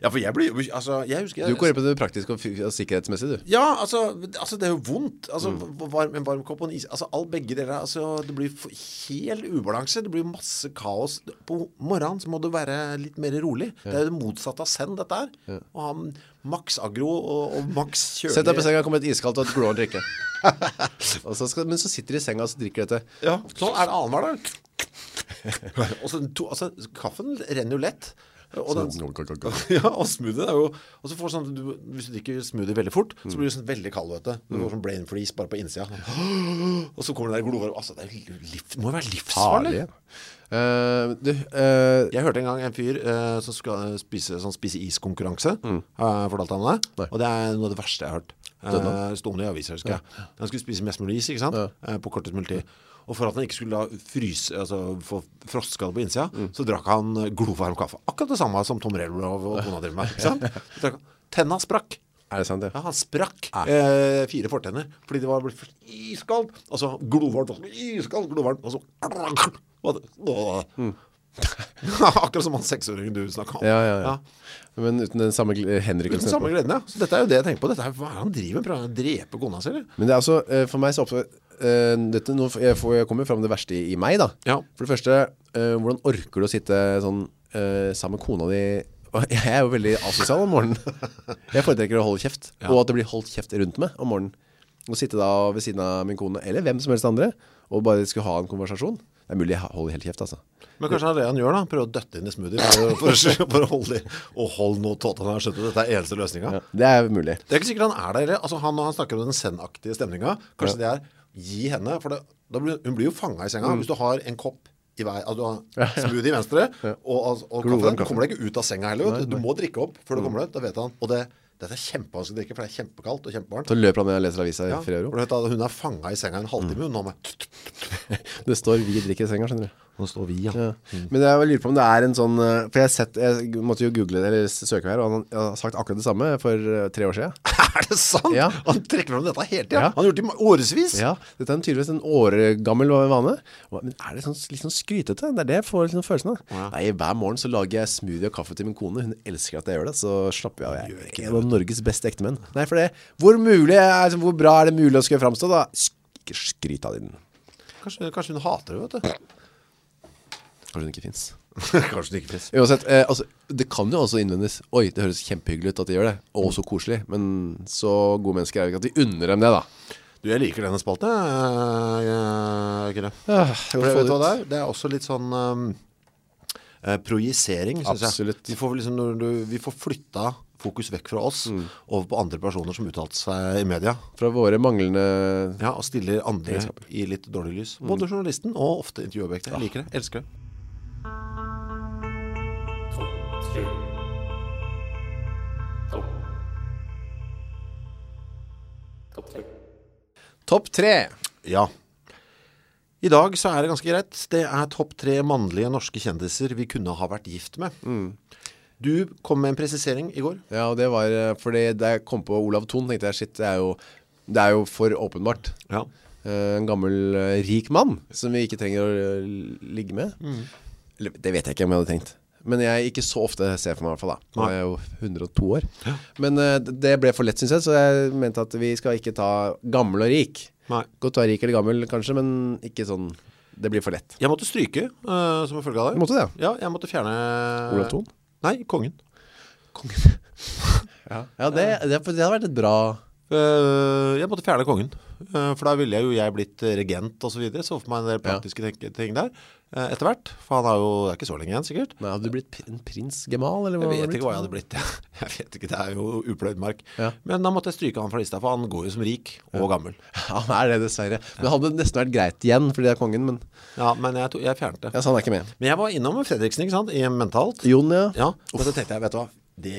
Ja, for jeg blir, jo- altså, jeg husker... Du går inn på det praktiske og, fy- og sikkerhetsmessige, du. Ja, altså, altså, det er jo vondt Altså, Mm. varm, en varm kopp og en is Altså, all begge deler Altså, det blir for- helt ubalanse Det blir masse kaos På morgenen så må du være litt mer rolig Det er jo det motsatte av send, dette her Å ha maks aggro og, og maks kjølig Sett deg på senga, kom et iskaldt og et glående [LAUGHS] drikke. Og så skal, men så sitter de i senga og så drikker dette. Ja, sånn er det annen hver dag [LAUGHS] Og så to, altså, kaffen renner jo lett Og den [LAUGHS] ja, og smoothie er jo Og så får du sånn, du, hvis du drikker smoothie veldig fort Så blir du sånn veldig kald, vet du Du får sånn brain freeze bare på innsida [GASPS] Og så kommer det der glovarm Altså, det, er jo liv, det må jo være livsfarlig Farlig. Eh, du, eh, Jeg hørte en gang en fyr eh, Som skal eh, spise, sånn, spise iskonkurranse Har jeg fortalt han det? Nei. Og det er noe av det verste jeg har hørt Eh, Stående i aviser, husker jeg Han skulle spise mest mulig is, ikke sant? Eh, på kortest mulig tid Og for at han ikke skulle da fryse Altså få frostskade på innsida Så drakk han eh, glovarm kaffe Akkurat det samme som Tom Relbrov og kona driver med Ikke sant? Så drakk han- Tenna sprakk er det sant det? ja, han sprakk eh, fire fortenner Fordi det var blitt først iskaldt Og så glovarmt og så Iskaldt, glovarmt Og så og det- Åh. [LAUGHS] Akkurat som han seksåringen du snakket om Mm. Ja, ja, ja. Men uten den samme gl- Uten henrykkelsen. samme gleden, ja Så dette er jo det jeg tenker på Dette er hva er det han driver med Prøver han å drepe kona si, eller? Men det er altså, eh, for meg så oppstår eh, dette, nå, får- jeg, får, jeg kommer jo fram til det verste i, i meg da Ja. For det første, eh, hvordan orker du å sitte sånn eh, Sammen med kona di Og [LAUGHS] Jeg er jo veldig asosial om [LAUGHS] morgenen Jeg foretrekker å holde kjeft Og at det blir holdt kjeft rundt meg om morgenen Å sitte da ved siden av min kone Eller hvem som helst andre Og bare skulle ha en konversasjon Det er mulig jeg holder helt kjeft altså Men kanskje det er det han gjør da Prøver å døtte inn i smoothie For, for, for å holde i Og hold nå tåten Han har skjønt at dette er eneste løsninga. Det er mulig Det er ikke sikkert han er der eller? Altså han når han snakker om den sendaktige stemninga Kanskje det er Gi henne For det, da blir, hun blir jo fanget i senga Hvis du har en kopp i vei Altså du har smoothie i venstre Og, og, og Glovarm kaffe. kaffe Du kommer deg ikke ut av senga heller vet Du Du må drikke opp Før du kommer deg ut Da vet han Og det, dette er kjempevanskelig å drikke For det er kjempekaldt og kjempevarmt Så løper han ned og leser avisa ja, i fri for du vet at hun er fanget i senga en halvtime Hun har med Det står vi drikker i senga, skjønner du Nå står vi, ja Ja. Men jeg lurer på om det er en sånn eh, For jeg, har sett, jeg måtte jo google det Eller søke her Og han har sagt akkurat det samme for eh, tre år siden [LAUGHS] Er det sant? Ja. Han trekker frem dette hele tiden Ja. Han har gjort det i årevis ja. [LAUGHS] Dette er en tydeligvis en åregammel vane Og- Men er det sånn, litt sånn skrytete? Det er det jeg får liksom følelsen av Nei, hver morgen så lager jeg smoothie og kaffe til min kone Hun elsker at jeg gjør det Så slapper jeg av Jeg er en av Norges beste ektemenn Nei, for det Hvor, mulig, er- altså, hvor bra er det mulig å skulle fremstå da? Sk- Ikke skryt av den kanskje, kanskje hun hater det, vet du Kanskje den ikke finnes Kanskje hun ikke finnes Uansett, eh, altså, det kan jo også innvendes Oi, det høres kjempehyggelig ut at de gjør det Og også koselig Men så gode mennesker er det ikke at de unner dem det da Du, jeg liker denne spalten, jeg, jeg, jeg, jeg. For Ah, jeg vet hva det er? Det er også litt sånn um, eh, projisering, synes jeg. Absolutt. Vi får, vel liksom, når du, vi får flytta fokus vekk fra oss over på andre personer som uttalte seg i media, Fra våre manglende ja, Mm. Ah. og stiller andre i litt dårlig lys. Både journalisten og ofte intervjuobjektet. Jeg liker det, elsker det. Topp tre Ja. I dag så er det ganske greit. Det er topp tre mannlige norske kjendiser vi kunne ha vært gift med. Du kom med en presisering i går. Ja, og det var eh, fordi da jeg kom på Olav Thon Tenkte jeg, shit, det er jo, det er jo for åpenbart Ja. Eh, En gammel Mm. eh, rik mann Som vi ikke trenger å eh, ligge med Eller, Det vet jeg ikke om jeg hadde tenkt Men jeg ikke så ofte ser for meg i hvert fall da Nå Nei. er jeg jo 102 år Men eh, d- det ble for lett synes jeg Så jeg mente at vi skal ikke ta gammel og rik Nei. Godt å være rik eller gammel kanskje Men ikke sånn, det blir for lett Jeg måtte stryke, eh, som en følge av Jeg det. måtte det, ja Ja, jeg måtte fjerne... Olav Thon? Nei, kongen. Ja, det, det, det hadde vært et bra Eh, jeg måtte fjerne kongen, Eh, for da ville jeg jo jeg blitt regent og så videre, så for meg en del praktiske tenke- ting der eh, etter hvert, for han er jo det er ikke så lenge igjen sikkert. Nei, hadde du blitt pr- en prins gemal? Eller Jeg hadde [LAUGHS] vet du ikke hva jeg hadde blitt, [LAUGHS] jeg, vet ikke, det er jo upløyd mark. Ja. Men da måtte jeg stryke han fra lista, for han går jo som rik og gammel. Ja, han er det dessverre Men det hadde nesten vært greit igjen Fordi det er kongen, men Ja, men jeg, to- jeg fjernet det. ja, så han er ikke med Men jeg var innom Fredriksen, ikke sant, i mentalt. Jon, ja, Ja, og så tenkte jeg, vet du hva, det,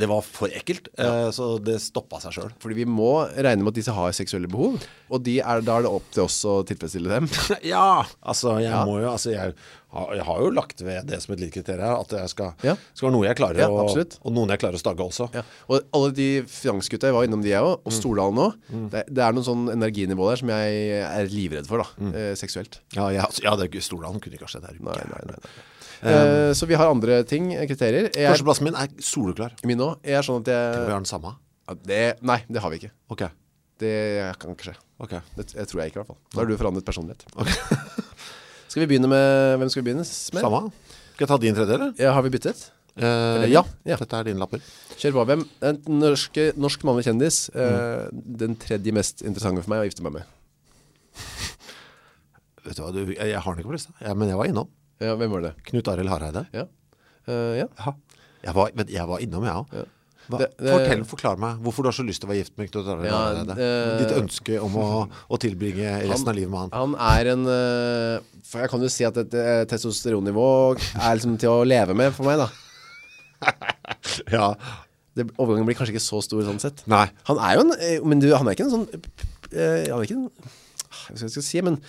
det var for ekkelt, eh, så det stoppet seg selv. Fordi vi må regne med at disse har seksuelle behov Og de er, da er det opp til oss å tilfredsstille dem [LAUGHS] Ja, altså jeg må jo altså, jeg, har, jeg har jo lagt ved det som et lite kriterium her At det skal, Ja. skal være noe jeg klarer Ja, å, absolutt. Og noen jeg klarer å stagge også Ja. Og alle de finansgutta jeg var innom de jeg også, og Stordalen også, det, det er noen sånn energinivå der som jeg er livredd for da, eh, seksuelt. Ja, jeg, altså, ja det er ikke Stordalen kunne ikke ha skjedd her Nei, nei, nei. nei. Eh, så vi har andre ting, eh, kriterier. Jeg, Førsteplassen min er soleklar min nå, jeg er sånn at Vi jeg... har den samme Ja, Det, nei, det har vi ikke. Ok, Det kan ikke skje. ok Det, det tror jeg ikke i hvert fall. Da har du forandret personlighet. Ok. skal vi begynne med... Hvem skal vi begynne s- med? Samme Skal jeg ta din tredje eller? Ja, har vi byttet? Eh, min? ja. Ja. dette er dine lapper Kjør på hvem? En norsk, norsk mannlig kjendis. Mm. eh, Den tredje mest interessante for meg å gifte meg med. Vet du hva, du, jeg, jeg har den ikke på lista ja, Men jeg var innom Ja, hvem var det? Knut Arild Hareide Ja. Eh, ja. Ja jeg var, men jeg var innom, jeg også Ja. Hva- Det- det- Fortell, forklar meg Hvorfor du har så lyst til å være gift med Knut Arild Ja, Hareide det- Ditt ønske om å, å tilbringe resten av livet med han Han er en øh, For jeg kan jo si at et øh, testosteronnivå Er liksom til å leve med for meg da Ja, det, Overgangen blir kanskje ikke så stor sånn sett nei Han er jo en øh, Men du, han er ikke en sånn øh, Han er ikke en ah, Hva skal jeg skal si Men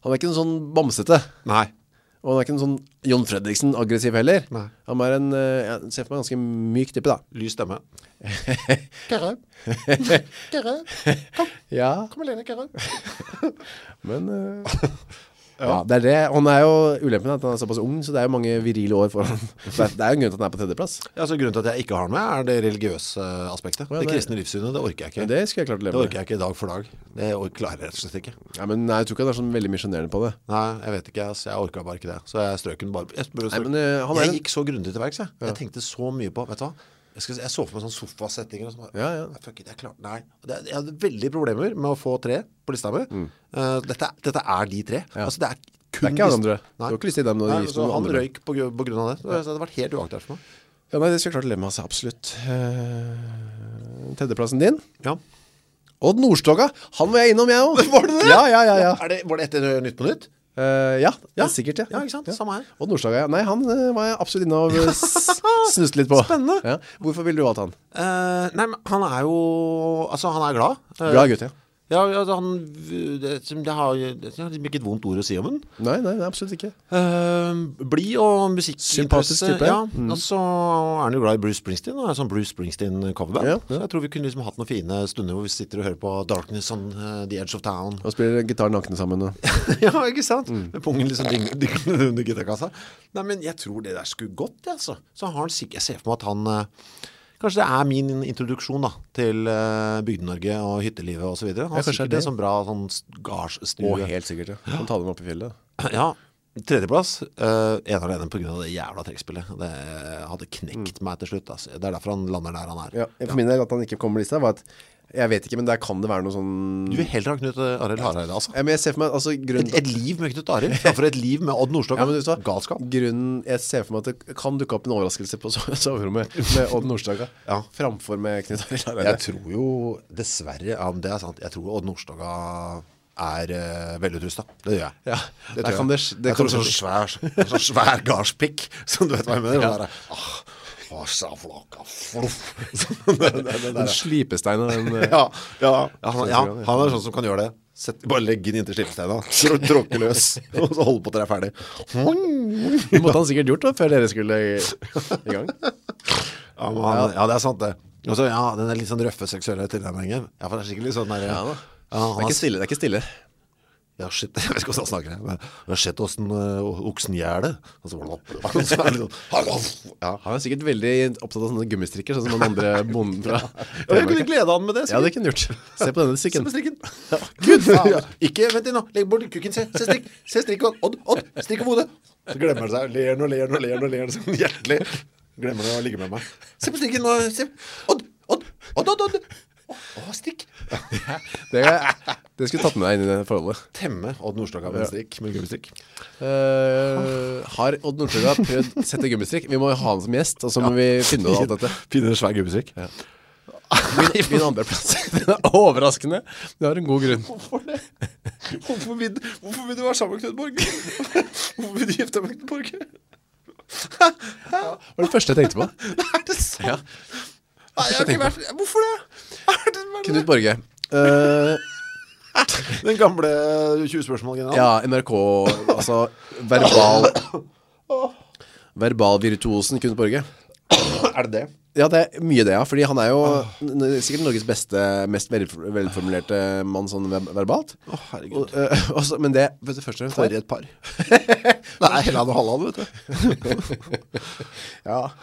han er ikke en sånn bamsete Nei, Og han er ikke en sånn Jon Fredriksen aggressiv heller Nei. Han er en øh, Jeg ser for meg en ganske myk type da lys stemme Kyrre. [LAUGHS] Kyrre. Kom, Ja kom alene, Kyrre. Men øh, [LAUGHS] ja. det er det Han er jo ulempen er at han er såpass ung Så det er jo mange virile år for [LAUGHS] han Det er det er jo en grunn til at han er på tredjeplass ja, så Grunnen til at jeg ikke har den med er det religiøse eh, aspektet ja, Det det- kristne livssynet, det orker jeg ikke Men Det, det skulle jeg klart å leve med orker jeg ikke dag for dag Det or- klarer jeg rett og slett ikke Ja, men nei, jeg tror ikke han er sånn veldig misjonerende på det Nei, jeg vet ikke, altså, jeg orket bare ikke det Så jeg strøk den bare jeg, bare Nei, strøk. men eh, han er jeg en- gikk så grundig til verks jeg. jeg tenkte så mye på, vet du hva jeg, skal, jeg så for meg sånn sofasettinger og sånn bare, Ja, ja. «Nei, Fuck it, jeg klarte Nei Og det, Jeg hadde veldig problemer med å få tre på lista mi Eh, dette, dette er de tre Altså det er Mm. Det kun er ikke han disse- andre Du Nei. har ikke lyst til dem når du Nei, er gift så med noen han andre røyk på, gru- på grunn av det Så det hadde vært helt uaktuelt for meg Ja, nei, det skulle jeg klart å leve med altså, absolutt Eh, Tredjeplassen din Ja Odd Nordstoga, han var jeg innom jeg også [LAUGHS] Var det det? Ja, ja, ja, ja Er det, Var det etter Nytt på Nytt? Eh, ja, Ja. sikkert ja. Ja, ikke sant? Samme her. Odd Nordstoga, ja. nei, han eh, var jeg absolutt inne [LAUGHS] og eh, s- snuste litt på Spennende. ja. Hvorfor ville du valgt han? Eh, nei, men han er jo Altså, han er glad Eh, Bra gutt, ja Ja, ja, altså, han det, som- det har det er liksom ikke et vondt ord å si om han Nei, nei, nei, absolutt ikke uh, Bli og musikk Sympatisk type. Mm. Ja, og så er han jo glad i Bruce Springsteen Og er sånn Bruce Springsteen coverband Ja, Så jeg tror vi kunne liksom hatt noen fine stunder Hvor vi sitter og hører på Darkness on eh, the Edge of Town [LAUGHS] [LAUGHS] Han spiller gitar nakne sammen og- Ja, ikke sant? Mm. Med pungen liksom ding- dinglende [LAUGHS] under gitterkassa. Nei, men jeg tror det der skulle gått, jeg, altså. Så har han sikkert, jeg ser for meg at han, eh, kanskje det er min introduksjon da, til eh, bygden-Norge og hyttelivet og så videre. Ja, Han har kanskje sikkert det. en sånn bra sånn gardsstue. Å, helt sikkert, ja Han tar dem opp i fjellet Ja, tredjeplass, uh, en alene på grunn av det jævla trekspillet. Det eh, hadde knekt meg til slutt, altså. Det er derfor han lander der han er. ja, For min del at han ikke kom på lista var at Jeg vet ikke, men der kan det være noe sånn Du vil heller ha Knut Arild Hareide, altså. Ja, men jeg ser for meg altså, grunnen Et, til at- et liv med Knut Arild, for et liv med Odd Nordstoga. ja, men du sa, Galskap. Grunnen, jeg ser for meg at det kan dukke opp en overraskelse på so- [LAUGHS] soverommet med Odd Nordstoga Ja. Framfor med Knut Arild Hareide. Jeg tror jo dessverre, ja, men det er sant, jeg tror Odd Nordstoga er uh, velutrustet. Det gjør jeg. Ja, det der tror kan jeg. det sk- det jeg tror kan sånn svær, sånn svær garspikk, som du vet hva jeg mener. Ja. Der, ah, å, sa flaka, fluff. [LAUGHS] Sånn, det, det, det, Den der. slipesteinen [LAUGHS] den, eh, Ja, ja, ja, han, ja, han er sånn som kan gjøre det. Sett, bare legge den inntil skilpesteina, trå- tråkke løs, [LAUGHS] og så holde på til det er ferdig. Det måtte han sikkert gjort da Før dere skulle i, [LAUGHS] i gang Ja, men han, ja, det er sant det. Og så, ja, den er litt sånn røffe seksuelle tilnærmingen. Ja, for det er sikkert litt sånn der... Ja da. Ja, Det er han ikke stille, det er ikke stille Jeg har sett, [LAUGHS] jeg vet ikke hvordan han snakker, men jeg har sett hvordan uh, oksen gjør det. Og så, og så er det [LAUGHS] sånn, ja. Han er sikkert veldig opptatt av sånne gummistrikker Sånn som den andre bonden fra Ja, Jeg kunne glede han med det. Ja, det kunne han gjort Se på denne strikken med [LAUGHS] strikken. Gud, faen. Ja. Ikke, vent litt nå. Legg bort kukken, se. Se strikk. Se strikk, Odd. Odd, Odd. Strikk på hodet. Så glemmer han seg. Ler og ler og ler og ler sånn hjertelig. Glemmer det å ligge med meg. Se på strikken nå. Se. Odd, Odd. Odd, Odd, Odd. Å, å, strikk. det, det skulle tatt med deg inn i det forholdet Temme Odd Nordstoga med en strikk, med en gummistrikk. Eh, Har Odd Nordstoga prøvd å sette gummistrikk? Vi må jo ha han som gjest Og så må vi finne ut av alt dette [LAUGHS] Finne en svær gummistrikk. Min, min andre plass [LAUGHS] Den er overraskende Du har en god grunn Hvorfor det? Hvorfor vil, hvorfor vil du være sammen med Knut Borge? Hvorfor vil du gifte deg med Knut Borge? Det var det første jeg tenkte på Er det sant? Nei, jeg har ikke vært Hvorfor det? Er det bare Knut Borge Eh, Den gamle 20 spørsmål-generalen. Ja, NRK Altså, verbal Verbalvirtuosen Knut Borge Er det det? Ja, det er mye det, ja Fordi han er jo n- n- sikkert Norges beste Mest vel- velformulerte mann sånn ver- verbalt Å, herregud. og, eh, [LAUGHS] også, Men det, vet du, først og fremst er- For et par. det er Helland og Halland, vet du. [LAUGHS] Ja [LAUGHS]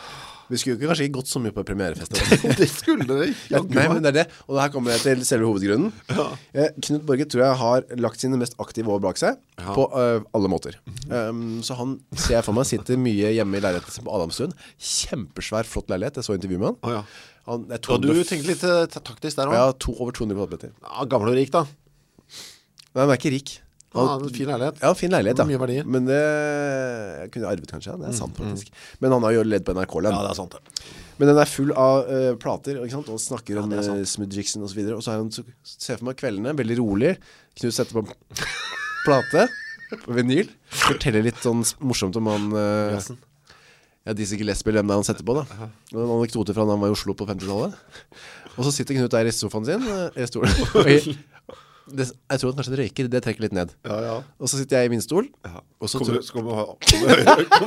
Vi skulle jo ikke- kanskje ikke gått så mye på [LAUGHS] premierefesten [LAUGHS] Det skulle dere jaggu Nei, men meg. det er det Og her kommer jeg til selve hovedgrunnen eh, Knut Borge tror jeg har lagt sine mest aktive år bak seg På eh, alle måter um, Så han, ser jeg for meg, sitter mye hjemme i leiligheten sin på Adamstuen Kjempesvær, flott leilighet, jeg så intervju med han Å, ja. Han er Og du 200 tenkte litt eh, ta- taktisk der òg. Ja, Ja. to, over 200 kvadratmeter Nei, gammel og rik, da. han er ikke rik Ja, en fin leilighet. Ja, fin leilighet, ja Mye verdier. Mm, Men det jeg kunne arvet kanskje, ja. det er sant faktisk Men han har jo ledd på NRK-lønn Ja, det er sant. det. Men den er full av eh, plater, ikke sant? Og snakker om uh, Smudriksen og så videre Og så er han, så ser jeg for meg kveldene, veldig rolig Knut setter på en plate På vinyl Forteller litt sånn s- morsomt om han eh, Ja, Dizzy Gillespie, eller hvem det er han setter på da Og en anekdote fra da han var i Oslo på 50-tallet Og så sitter Knut der i sofaen sin eh, I [LAUGHS] stolen og i, det, Jeg tror han kanskje røyker, det trekker litt ned Ja, ja. Og så sitter jeg i min stol Og så Kommer tror [LAUGHS]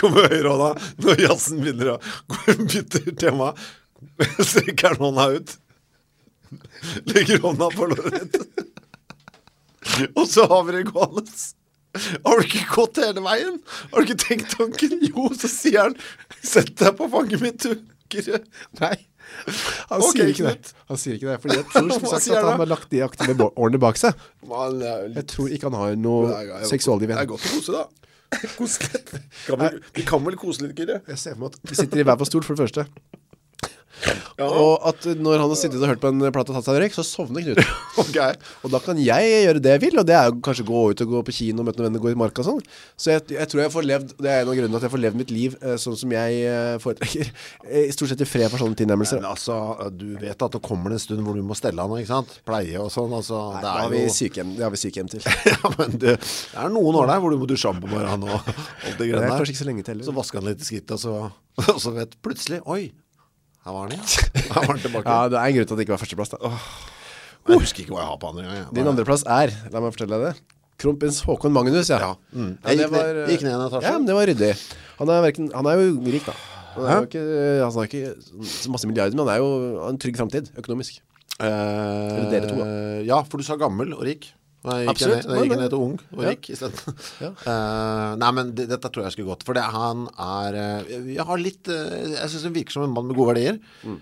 kommer høyre hånda når jazzen begynner å [LAUGHS] gå- bytter tema. [LAUGHS] Strekker den hånda ut. Legger hånda på låret. [LAUGHS] Og så har vi det gående. Har du ikke gått hele veien? Har du ikke tenkt tanken? Jo, så sier han Sett deg på fanget mitt, du. Kyrre. Nei Han Ok, sier ikke Knut. det Han sier ikke det Fordi jeg tror som [LAUGHS] Hva sagt sier at han han har lagt de aktive bå- årene bak seg Man, eh, det er jo Jeg litt- tror ikke han har det noe er- det er- seksualliv Det er igjen godt å kose, [LAUGHS] da. Kose litt. Kan vel- Vi kan vel kose litt, [LAUGHS] Kyrre? Jeg ser for meg at vi sitter i hver vår stol for det første Ja. Og at når han har sittet og hørt på en platt og tatt seg en røyk Så sovner Knut Ok. Og da kan jeg gjøre det jeg vil Og det er jo kanskje gå ut og gå på kino Møte noen venner, gå i marka og sånn Så jeg, jeg tror jeg får levd Det er en av grunnene til at jeg får levd mitt liv eh, Sånn som jeg eh, foretrekker [LAUGHS] eh, Stort sett i fred for sånne tilnærmelser Men altså, du vet at det kommer en stund hvor du må stelle han, ikke sant? Pleie og sånn, altså. Da det har er vi [LAUGHS] jo... sykehjem, det har vi sykehjem til Det ja, men det, det er noen år der hvor du må dusje ham på morgenen og alt det er grønne kanskje der. ikke så lenge til heller. Så vasker han litt i skrittet, og så, [LAUGHS] og så vet plutselig, oi, her var han [LAUGHS] igjen. Her var han tilbake. Ja, det er en grunn til at det ikke var førsteplass da Jeg husker ikke hva jeg har på andre gang. jeg. Din andreplass er, la meg fortelle deg det Kronprins Håkon Magnus, ja, Ja, mm. det Jeg gikk ned- gikk ned en etasje. Ja, men det var ryddig Han er, hverken, han er jo rik da han er jo ikke, altså, han har ikke så masse milliarder, men han er jo har en trygg fremtid, økonomisk Eh, Eller dere to, Ja, for du sa gammel og rik. Da gikk jeg Absolutt. ned, da gikk jeg Nei, ned til ung og [LAUGHS] Ja. rik i stedet. Eh, nei, men det, dette tror jeg skulle gått. For det, han er eh, Jeg har litt eh, Jeg syns han virker som en mann med gode verdier. Mm.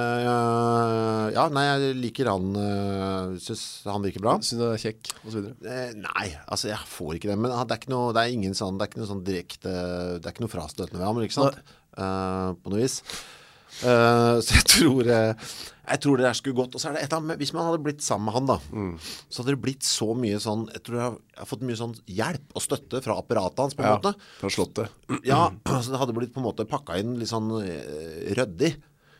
Eh, ja, nei, jeg liker han. Uh, syns han virker bra. Synes han er kjekk, og så videre Eh, nei, altså jeg får ikke det Men han- det er ikke noe, det er ingen sånn Det er ikke noe sånn direkte Det er ikke noe frastøtende ved ham, ikke sant? Eh, på noe vis Eh, Så jeg tror eh, Jeg tror det der skulle gått Og så er det et eller annet med- Hvis man hadde blitt sammen med han da Så hadde det blitt så mye sånn Jeg tror jeg har, jeg har fått mye sånn hjelp og støtte fra apparatet hans på en måte fra slottet ja, [CLEARS THROAT] altså det hadde blitt på en måte pakka inn litt sånn eh, røddig.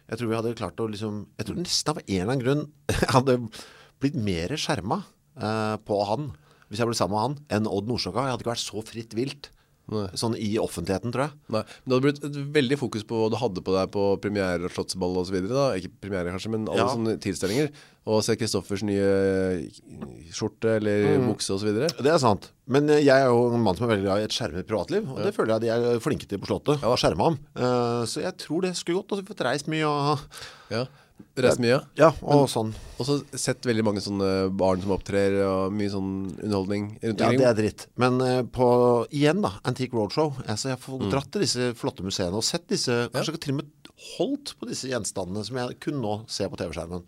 Jeg tror vi hadde klart å liksom Jeg tror nesten av en eller annen grunn [LAUGHS] hadde blitt mer skjerma eh, på han hvis jeg ble sammen med han, enn Odd Nordstoga. Jeg hadde ikke vært så fritt vilt Nei. sånn i offentligheten, tror jeg. Nei, men det hadde blitt et veldig fokus på hva du hadde på deg på premiere og slottsball og så videre da Ikke premiere kanskje, men alle Ja. sånne tilstelninger Og se Kristoffers nye eh, skjorte eller Mm. bukse og så videre Det er sant. Men eh, jeg er jo en mann som er veldig glad i et skjermet privatliv, og det føler jeg de er flinke til på Slottet. å Skjerme ham. Eh, så jeg tror det skulle gått. Og så fått reist mye og Ja, Reist mye, ja. Ja, og sånn Og så sett veldig mange sånne barn som opptrer Og mye sånn underholdning rundt Ja, omkring det er dritt Men eh, på, igjen da, Antique Roadshow altså, Jeg har fått dratt til disse flotte museene Og sett disse, kanskje til og med holdt på disse gjenstandene Som jeg kun nå ser på tv-skjermen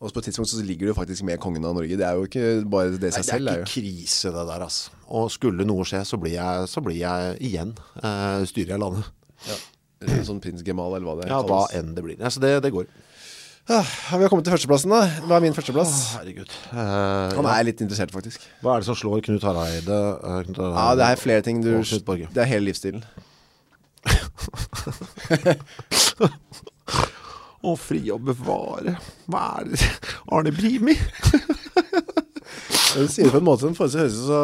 Og så på et tidspunkt så ligger du faktisk med kongen av Norge Det er jo ikke bare det i Nei, seg det selv er er jo. ikke krise det der, altså. Og skulle noe skje, så blir jeg, så blir jeg igjen eh, styrer jeg landet. Sånn prins Gemal eller hva det Ja, hva kalles enn det blir. Altså, det, det går. ah, Vi har kommet til førsteplassen da Hva er min førsteplass? Herregud. Han er litt interessert faktisk Eh, Hva er det som slår Knut Hareide? eh, Knut Hareide? Ja, det er flere ting du Og Knut Borge. Det er hele livsstilen Å, fri å bevare. Hva er det? Arne Brimi? Du sier det på en måte som forholdsvis høres så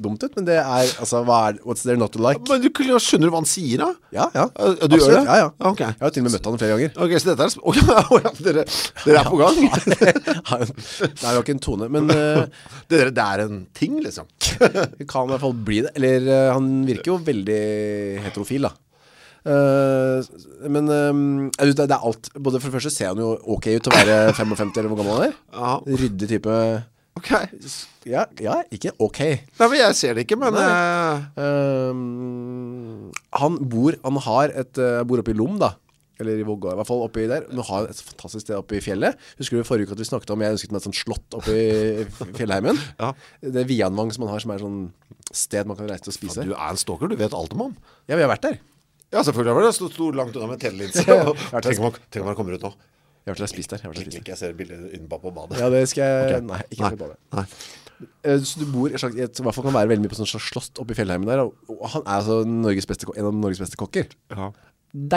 dumt ut Men det er, altså, hva er What's there not to like? Men du klarer- skjønner du hva han sier da? Ja, ja Ja, du gjør Absolutt, det? Ja, ja Ok. Jeg har til og med møtt han flere ganger Ok, så dette er... sp- [LAUGHS] Å, ja, å, ja, dere, dere er på [LAUGHS] gang? [LAUGHS] Nei, det er jo ikke en tone Men eh, det, der- det er en ting, liksom. Det kan i hvert fall bli det Eller eh, han virker jo veldig heterofil da Eh, men eh, jeg vet, det det er alt Både for det første ser han jo ok ut Til å være [LAUGHS] 55 eller hvor gammel han er Ja, Ryddig type ok. Ja, ja ikke ok Nei, men jeg ser det ikke, men... eh, Eh, Han bor Han har et eh, Bor oppe i Lom da Eller i Vågå I hvert fall oppe i der Men har et fantastisk sted oppe i fjellet Husker du forrige uke at vi snakket om Jeg ønsket meg et sånt slott oppe i fjellheimen Ja. Det er Vianvang som han har Som er sånn sted man kan reise til å spise Du er en stalker, du vet alt om ham Ja, vi har vært der Vi Ja, selvfølgelig var det stod, stod langt unna med [LAUGHS] telelinse Tenk om han- tenk om han kommer ut nå har vært der og spist der, jeg har vært der og spist der. Ikke jeg ser bildet innenpå på badet Ja, det skal jeg Nei, ikke Nei, på badet nei. Eh, Så du bor i et slags- i et- som i hvert fall kan være veldig mye på sånn slags slott oppe i fjellheimen der Og og han er altså Norges beste, ko- en av Norges beste kokker Ja.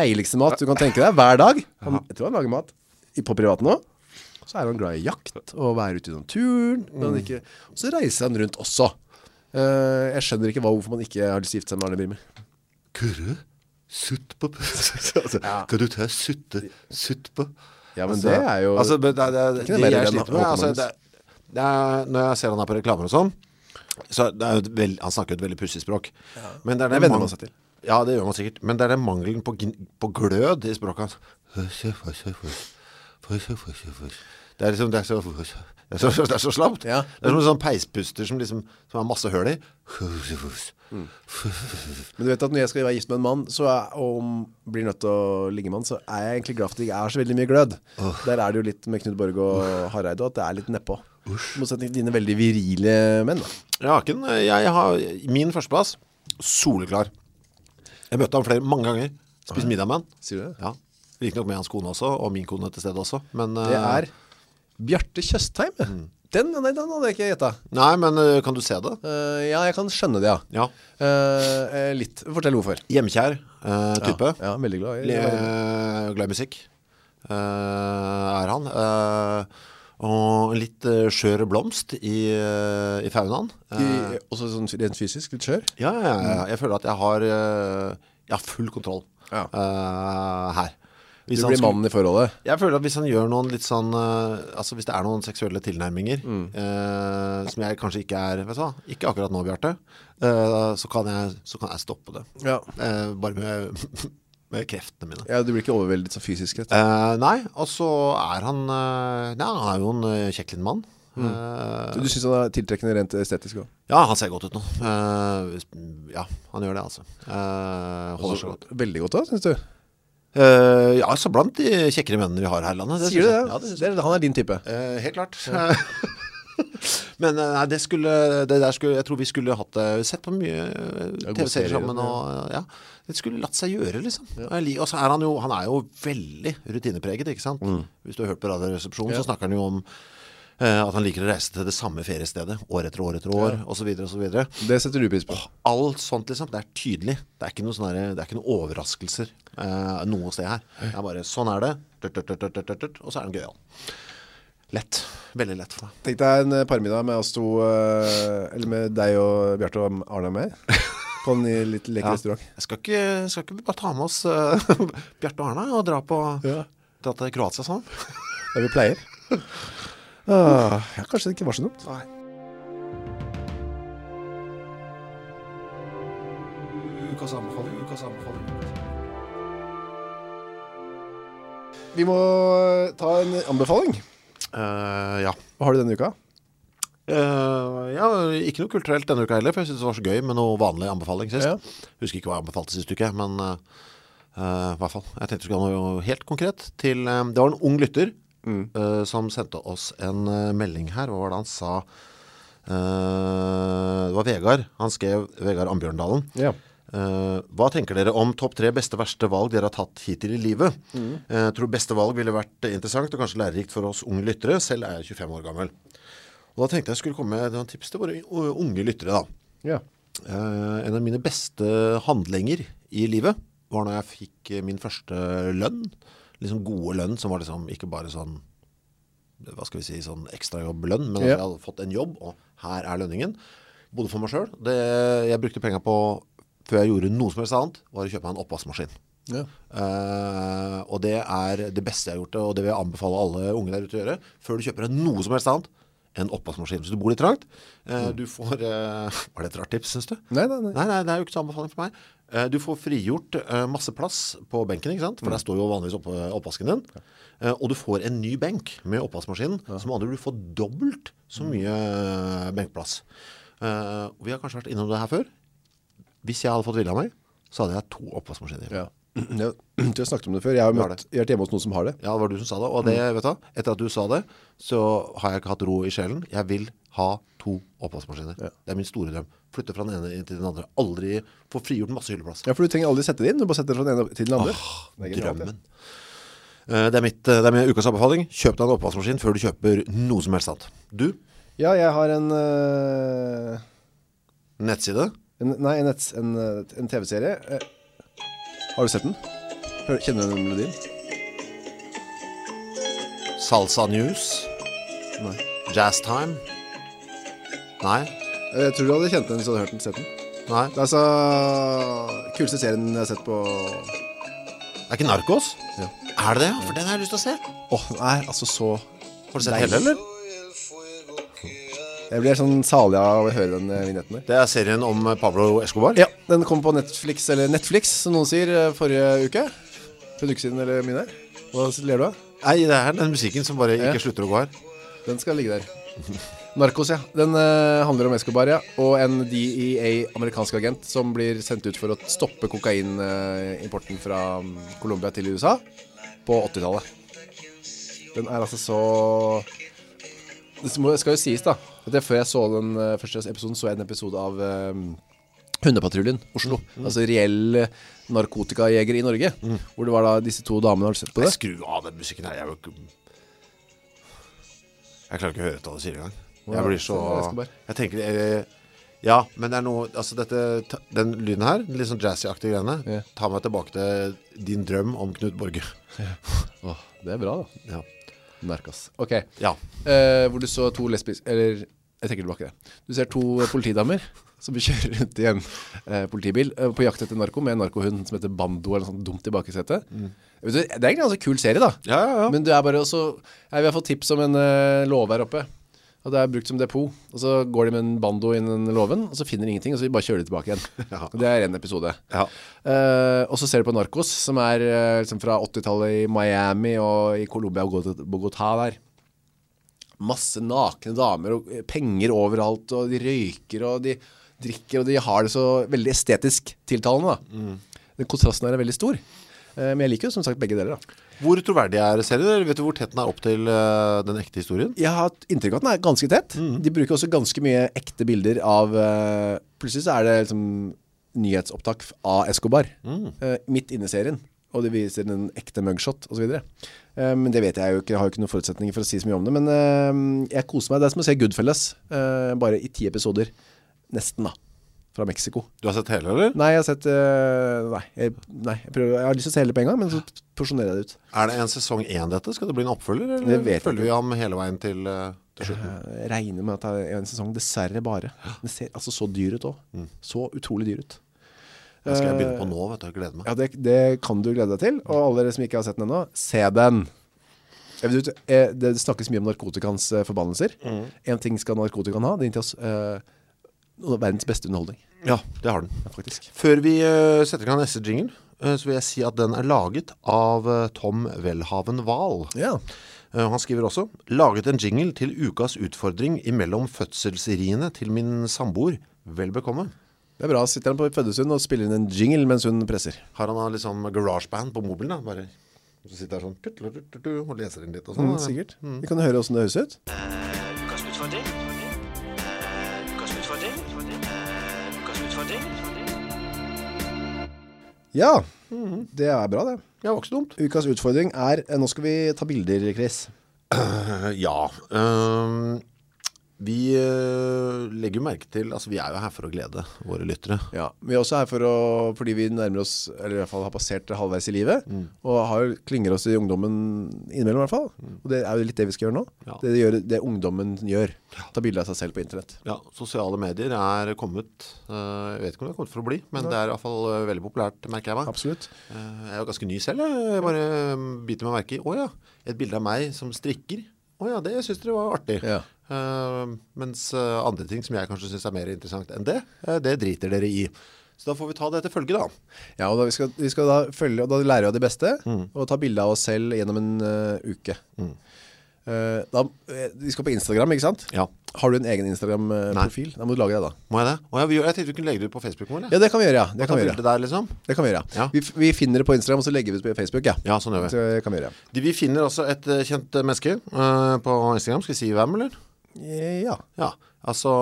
Deiligste mat du kan tenke deg hver dag han, Jeg tror han lager mat i- på privaten også Så er han glad i jakt og være ute i naturen når han ikke, Og så reiser han rundt også Eh, Jeg skjønner ikke hva, hvorfor man ikke har lyst til å gifte seg med Arne Brimi Kurre, sutt på [LAUGHS] altså, Kan du ta sutte, sutt på Ja, men det er jo- Altså, men det, det, det, Ikke det det mer jeg enn sliter med Håkon altså, Magnus. det, det er, Når jeg ser han her på reklamer og sånn så det er jo et veld, han snakker jo et veldig pussig språk Men Det det er den venner mang- man seg til. Ja, det gjør man sikkert Men det er den mangelen på, gn- på glød i språket hans Det er liksom Det er så, det er så, det er så slapt Ja. Det er som en sånn peispuster som liksom Som har masse høl i Mm. Men du vet at når jeg skal være gift med en mann så er, Og blir nødt til å ligge med han Så er jeg egentlig glad for at det ikke er så veldig mye glød Der er det jo litt med Knut Borg og Hareide At det er litt nedpå I motsetning til dine veldig virile menn da. Jeg har ikke en eh, jeg har, Min førsteplass Soleklar Jeg møtte ham flere, mange ganger Spist middag med han Sier du det? Ja Like nok med hans kone også Og min kone til stedet også Men Det eh, er Bjarte Tjøstheim ja. den, nei, den hadde jeg ikke gjettet Nei, men eh, kan du se det? Eh, Ja, jeg kan skjønne det ja, Ja Eh, eh, Litt, fortell hvorfor Hjemkjær eh, type Ja, veldig glad i Le- Glad i musikk eh, Er han eh, Og litt eh, skjør blomst I, uh, i faunaen Eh, I- Også sånn rent fysisk, litt skjør Ja, ja, ja, ja. jeg føler at jeg har, eh, jeg har full kontroll Ja. eh, her. Hvis Du han blir skulle- mannen i forholdet Jeg føler at hvis han gjør noen litt sånn, eh, altså hvis det er noen seksuelle tilnærminger, Mm. eh, som jeg kanskje ikke er, vet du hva, ikke akkurat nå, Bjarte, eh, så, kan jeg, så kan jeg stoppe det. Ja, Eh, bare med, [LAUGHS] med kreftene mine. du blir ikke overveldet sånn fysisk rett Eh, nei, og så er han, eh, nei, han er jo en eh, kjekk liten mann. Mm. Eh, Du du synes han er tiltrekkende rent estetisk også ja, han ser godt ut nå. Eh, hvis- ja, han gjør det altså. Eh, Altså- holder seg godt. Veldig godt da, synes du Eh, ja, så blant de kjekkere mennene vi har her i landet det Sier du synes det? jeg. Ja, det synes jeg. Det er- han er din type Eh, Helt klart [LAUGHS] Men eh, nei, det skulle, det der skulle Jeg tror vi skulle hatt det Sett på mye eh, er gode serier, TV-serier sammen ja. og, eh, ja. Det skulle latt seg gjøre liksom Og jeg lik- Og så er han jo Han er jo veldig rutinepreget Ikke sant? Mm. Hvis du har hørt på radioresepsjonen Så snakker han jo om eh, At han liker å reise til det samme feriestedet År etter år etter år Og så videre og så videre Det setter du pris på Alt sånt liksom, det er tydelig Det er ikke noen, sånne, det er ikke noen overraskelser eh, Noe sted her Det er bare, sånn er det tørt, tørt, tørt, tørt, tørt, tørt, Og så er den gøy Lett, veldig lett for deg Tenk deg en eh, parmiddag med oss to eh, Eller med deg og Bjarte og Arne og meg På en eh, litt lekker restaurant Jeg skal ikke, skal ikke bare ta med oss eh, [LAUGHS] Bjarte og Arne Og dra, på, Ja. dra til Kroatia sånn. sammen Der vi pleier ah, ja, Kanskje det ikke var så dumt Nei. Vi må eh, ta en anbefaling Eh, ja. Hva har du denne uka? Eh, ja, ikke noe kulturelt denne uka heller, for jeg synes det var så gøy med noe vanlig anbefaling sist. Ja. Husker ikke hva jeg anbefalte sist uke, men eh, eh, i hvert fall. Jeg tenkte vi skulle ha noe helt konkret til eh, Det var en ung lytter Mm. eh, som sendte oss en eh, melding her. Hva var det han sa? Eh, det var Vegard. Han skrev Vegard Ambjørndalen. Ja. Eh, hva tenker dere om topp tre beste verste valg dere har tatt hittil i livet? Eh, tror beste valg ville vært interessant og kanskje lærerikt for oss unge lyttere. Selv er jeg 25 år gammel. Og da tenkte jeg skulle komme med noen tips til våre u- unge lyttere da. Ja Eh, en av mine beste handlinger i livet var når jeg fikk eh, min første lønn. Liksom gode lønn som var liksom ikke bare sånn hva skal vi si, sånn ekstrajobblønn, men at Ja. jeg hadde fått en jobb, og her er lønningen. Bodde for meg selv. Det, jeg brukte penger på, før jeg gjorde noe som helst annet, var å kjøpe meg en oppvaskmaskin. Ja, Eh, og det er det beste jeg har gjort, og det vil jeg anbefale alle unge der ute å gjøre, før du kjøper deg noe som helst annet enn oppvaskmaskin. Så du bor litt trangt. eh, du får, eh, [LAUGHS] var det et rart tips, synes du? Mm. Nei, nei, nei. Nei, nei, det er jo ikke så anbefaling for meg. Eh, Du får frigjort eh, masse plass på benken, ikke sant? For Mm. der står jo vanligvis opp, oppvasken din. Eh, Og du får en ny benk med oppvaskmaskinen, som med andre ord, du får dobbelt Mm. så mye eh, benkplass. Eh, og Vi har kanskje vært innom det her før. Hvis jeg hadde fått vilja meg, så hadde jeg to oppvaskmaskiner. ja. Ja, [CLEARS THROAT] Du har snakket om det før Jeg har Har møtt, jeg har vært hjemme hos noen som har det Ja, det var du som sa det, og det, Mm. vet du, hva, etter at du sa det, så har jeg ikke hatt ro i sjelen. Jeg vil ha to oppvaskmaskiner. Det er min store drøm. Flytte fra den ene til den andre. Aldri få frigjort masse hylleplass. Ja, for du trenger aldri sette det inn Du bare setter det fra den ene til den andre Det er genialt, det. Drømmen. Eh, Det er, mitt, eh, det er min ukas anbefaling. Kjøp deg en oppvaskmaskin før du kjøper noe som helst annet. Du, Ja, jeg har en, øh, nettside. en Nei, en, nett- en, øh, en tv-serie Eh, Har du sett den? Hører- Kjenner du den melodien? Salsa News. Nei Jazz Time. Nei. Eh, Jeg tror du hadde kjent den hvis du hadde hørt den sett den Nei. Det er altså Kuleste serien jeg har sett på Åh, Er ikke Narkos? Ja. Er det det? For den har jeg lyst til å se. den er altså så Har du sett Deilig. hele, eller? Jeg blir sånn salig av å høre den eh, vignetten der Det er serien om eh, Pablo Escobar. Ja, den kom på Netflix, eller Netflix som noen sier eh, Forrige uke For en uke siden, eller mine Hva ler du av? Nei, det er den musikken som bare ikke Ja. slutter å gå her. Den skal ligge der Narkos, ja Den eh, handler om Escobar, ja Og en DEA-amerikansk agent Som blir sendt ut for å stoppe kokainimporten fra mm, Colombia til USA På 80-tallet Den er altså så Det må- skal jo sies da At jeg, før jeg så den eh, første episoden Så jeg en episode av eh, Hundepatruljen, Oslo Altså reell narkotikajeger i Norge Hvor det var da disse to damene Har du sett på Nei, det? skru av den musikken her. Jeg, er jo ikke- jeg klarer ikke å høre ut hva du sier engang. Jeg blir så Escobar. Jeg tenker eh, Ja, men det er noe Altså, dette ta- Den lyden her, den litt sånn jazzy-aktige greiene, Ja. tar meg tilbake til din drøm om Knut Borge. [LAUGHS] Åh, det er bra da Ja. Narkas Ok ja. Eh, Hvor du så to lesbiske Eller, jeg trekker tilbake det Du ser to eh, politidamer Som kjører rundt i en eh, politibil eh, På jakt etter narko Med en narkohund som heter Bando Eller noe sånt dumt i baksetet. Vet du, Det er egentlig en ganske kul serie da Ja, Mm. ja, ja. Men det er bare også Nei, vi har fått tips om en eh, låve her oppe Og det er brukt som depot Og så går de med en bando innen låven Og så finner de ingenting Og så bare kjører de tilbake igjen [LAUGHS] Ja. Og Det er en episode Ja. Eh, og så ser du på Narcos, som er eh, liksom fra 80-tallet i Miami og i Colombia og Bogota- Bogotá der. Masse nakne damer og eh, penger overalt, og de røyker og de drikker, og de har det så veldig estetisk tiltalende. Da. Den kontrasten her er veldig stor. Eh, men jeg liker jo som sagt begge deler. Da. Hvor troverdig er serien? Eller vet du hvor tett den er opp til eh, den ekte historien? Jeg har hatt inntrykk av at den er ganske tett. De bruker også ganske mye ekte bilder av eh, Plutselig så er det liksom nyhetsopptak f- av Escobar eh, midt inne i serien. Og det viser en ekte mugshot osv. Uh, men det vet jeg jo ikke, jeg har jo ikke noen forutsetninger for å si så mye om det. Men eh, jeg koser meg. Det er som å se Goodfellas, eh, bare i ti episoder. Nesten, da. Fra Mexico. Du har sett hele, eller? Nei, jeg har sett eh, nei, jeg, nei, jeg prøver Jeg har lyst til å se hele på en gang, men så porsjonerer jeg det ut. Er det en sesong 1 dette? Skal det bli en oppfølger? Eller Det vet jeg ikke. følger vi ham hele veien til, eh, til slutten? Jeg regner med at det er en sesong Dessverre bare Det ser altså så dyr ut også Så utrolig dyr ut Det skal jeg begynne på nå, vet du. Jeg gleder meg. Eh, Ja, det, det kan du glede deg til Og alle dere som ikke har sett den enda Se den Jeg vet ikke, eh, Det snakkes mye om narkotikans eh, forbannelser En ting skal narkotikan ha Det er inntil oss eh, noe av verdens beste underholdning Ja, det har den. Faktisk Før vi eh, setter i gang neste jingle, eh, så vil jeg si at den er laget av eh, Tom Velhaven Wahl. Ja, Eh, Han skriver også Laget en jingle til ukas utfordring Imellom fødselsriene til min samboer Vel bekomme det er bra Sitter han på Føddesund og spiller inn en jingle mens hun presser Har han da litt sånn garageband på mobilen da Bare så sitter han sånn tututututu, Og leser inn litt og sånn mm, Sikkert Vi kan høre hvordan det høres ut Ukas utfordring. Ukas utfordring. Ukas utfordring. Ja, det er bra det Ja, det var ikke så dumt Ukas utfordring er eh, Nå skal vi ta bilder, Chris Eh, Ja øhm, Vi eh, legger jo merke til Altså vi er jo her for å glede våre lyttere Ja, vi er også her for å, fordi vi nærmer oss, eller i hvert fall har passert halvveis i livet, og har, klinger oss i ungdommen innimellom i hvert fall. Og det er jo litt det vi skal gjøre nå. Ja. Det, gjør, det ungdommen gjør, ta bilder av seg selv på internett. Ja, sosiale medier er kommet eh, Jeg vet ikke om det er kommet for å bli Men det er i hvert fall eh, veldig populært, merker jeg meg Absolutt. Eh, Jeg er jo ganske ny selv, jeg. jeg bare mm, biter meg merke i Åja, et bilde av meg som strikker Åja, det synes dere var artig Ja. Eh, Mens eh, andre ting som jeg kanskje synes er mer interessant enn det eh, Det driter dere i Så da får vi ta det etter følge da Ja, og da vi skal, vi skal da følge, og da lærer vi av det beste, og ta bilder av oss selv gjennom en eh, uke. Eh, da, eh, vi skal på Instagram, ikke sant? Ja. Har du en egen Instagram-profil? Da må du lage det da. Må jeg det? Åja, vi gjør, jeg tenkte vi kunne legge det ut på Facebook Ja, det kan vi gjøre, ja. Det det kan vi gjøre. der liksom Det kan vi gjøre. Ja. Vi, f- vi finner det på Instagram, og så legger vi det på Facebook, ja. Ja, sånn gjør vi Det kan vi gjøre, ja. De- Vi finner også et eh, kjent eh, menneske eh, på Instagram Skal jeg si hvem, eller? Eh, Ja. Ja, altså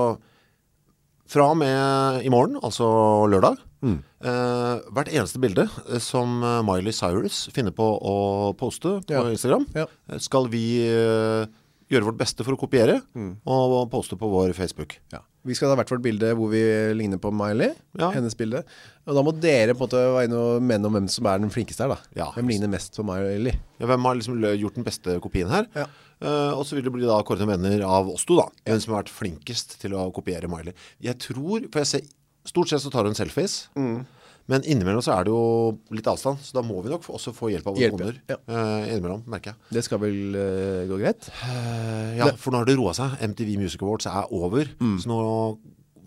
fra og med i morgen, altså lørdag, Mm. eh, hvert eneste bilde eh, som eh, Miley Cyrus finner på å poste på Ja. Instagram, Ja. eh, skal vi eh, gjøre vårt beste for å kopiere Mm. og poste på vår Facebook. Vi skal ha hvert vårt bilde hvor vi ligner på Miley, Ja. hennes bilde. Og da må dere på en måte være inne og mene om hvem som er den flinkeste her da. Ja. Hvem ligner mest på Miley? Ja, hvem har liksom lø- gjort den beste kopien her? Ja. Eh, og så vil det bli da kåret til venner av oss to da, hvem som har vært flinkest til å kopiere Miley. Jeg tror, for jeg ser, stort sett så tar hun selfies, Mm. men innimellom så er det jo litt avstand, så da må vi nok f- også få hjelp av våre Hjelp, ja. koner. Ja. eh, innimellom, merker jeg. Det skal vel eh, gå greit? Eh, ja, for nå har det roet seg. MTV Music Awards er over, Mm. så nå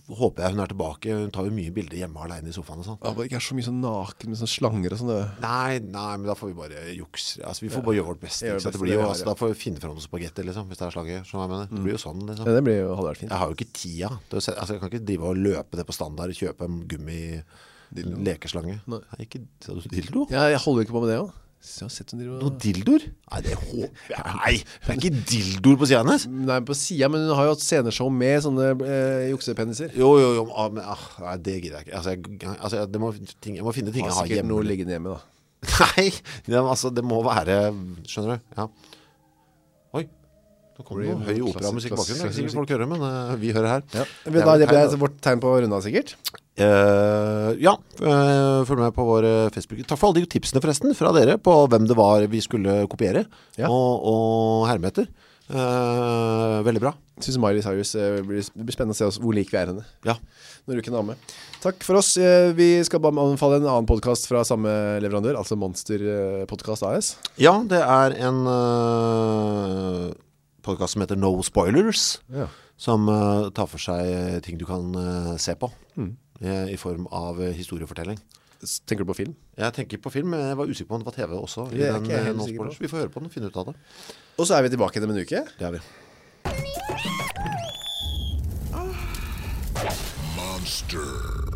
håper jeg hun er tilbake. Hun tar jo mye bilder hjemme alene i sofaen og sånn. Ja, men ikke er så mye sånn naken med sånne slanger og sånn. det- Nei, nei, men da får vi bare jukse. Altså, vi får bare gjøre vårt beste. Gjøre ikke sant? det Det blir beste vi jo, har, ja. altså, da får vi finne fram noen spagetti, liksom, hvis det er slaget. skjønner du hva jeg mener. Det blir jo sånn, liksom. Ja, det blir jo, hadde vært fint. Jeg har jo ikke tida. til å se- Altså, jeg kan ikke drive og løpe ned på standard og kjøpe en gummi... Lekeslange Nei, ikke sa du dildo? Ja, jeg holder jo ikke på med det også. Så jeg har sett hun driver Noen og... dildoer? Nei, det håper jeg Nei, det er ikke dildoer på siden hennes Nei, på siden, men hun har jo hatt sceneshow med sånne eh, juksepeniser. Jo, jo, jo ah, men, ah, Nei, det gidder jeg ikke Altså, jeg, altså jeg, det må, ting, jeg må finne ting Har jeg har sikkert hjemme noe liggende hjemme da. [LAUGHS] Nei, det, altså, det må være Skjønner du? Ja. Oi, nå kommer Blir det noe det høy noe operamusikk klassisk- i bakgrunnen. Det er ikke klassisk sikkert folk hører, men eh, vi hører her. Ja. Det Men er da, vel det tegn, er altså da. vårt tegn på å runde av sikkert. Eh, ja, eh, følg med på vår eh, Facebook. Takk for alle de tipsene forresten fra dere på hvem det var vi skulle kopiere Ja. og, og herme etter. Eh, veldig bra. Jeg synes Miley Cyrus eh, blir, det blir spennende å se oss, hvor lik vi er henne. Ja. Når uken er med Takk for oss Eh, Vi skal bare anbefale en annen podcast fra samme leverandør Altså Monster eh, Podcast AS ja, det er en uh, podcast som heter No Spoilers. Ja, Som eh, tar for seg eh, ting du kan eh, se på Mm. eh, I form av eh, historiefortelling S- Tenker du på film? Jeg tenker på film, men jeg var usikker på om det var TV også i Det er ikke jeg eh, heller No sikker på. Spoilers. Vi får høre på den og finne ut av det Og så er vi tilbake igjen om en uke Det er vi Monster.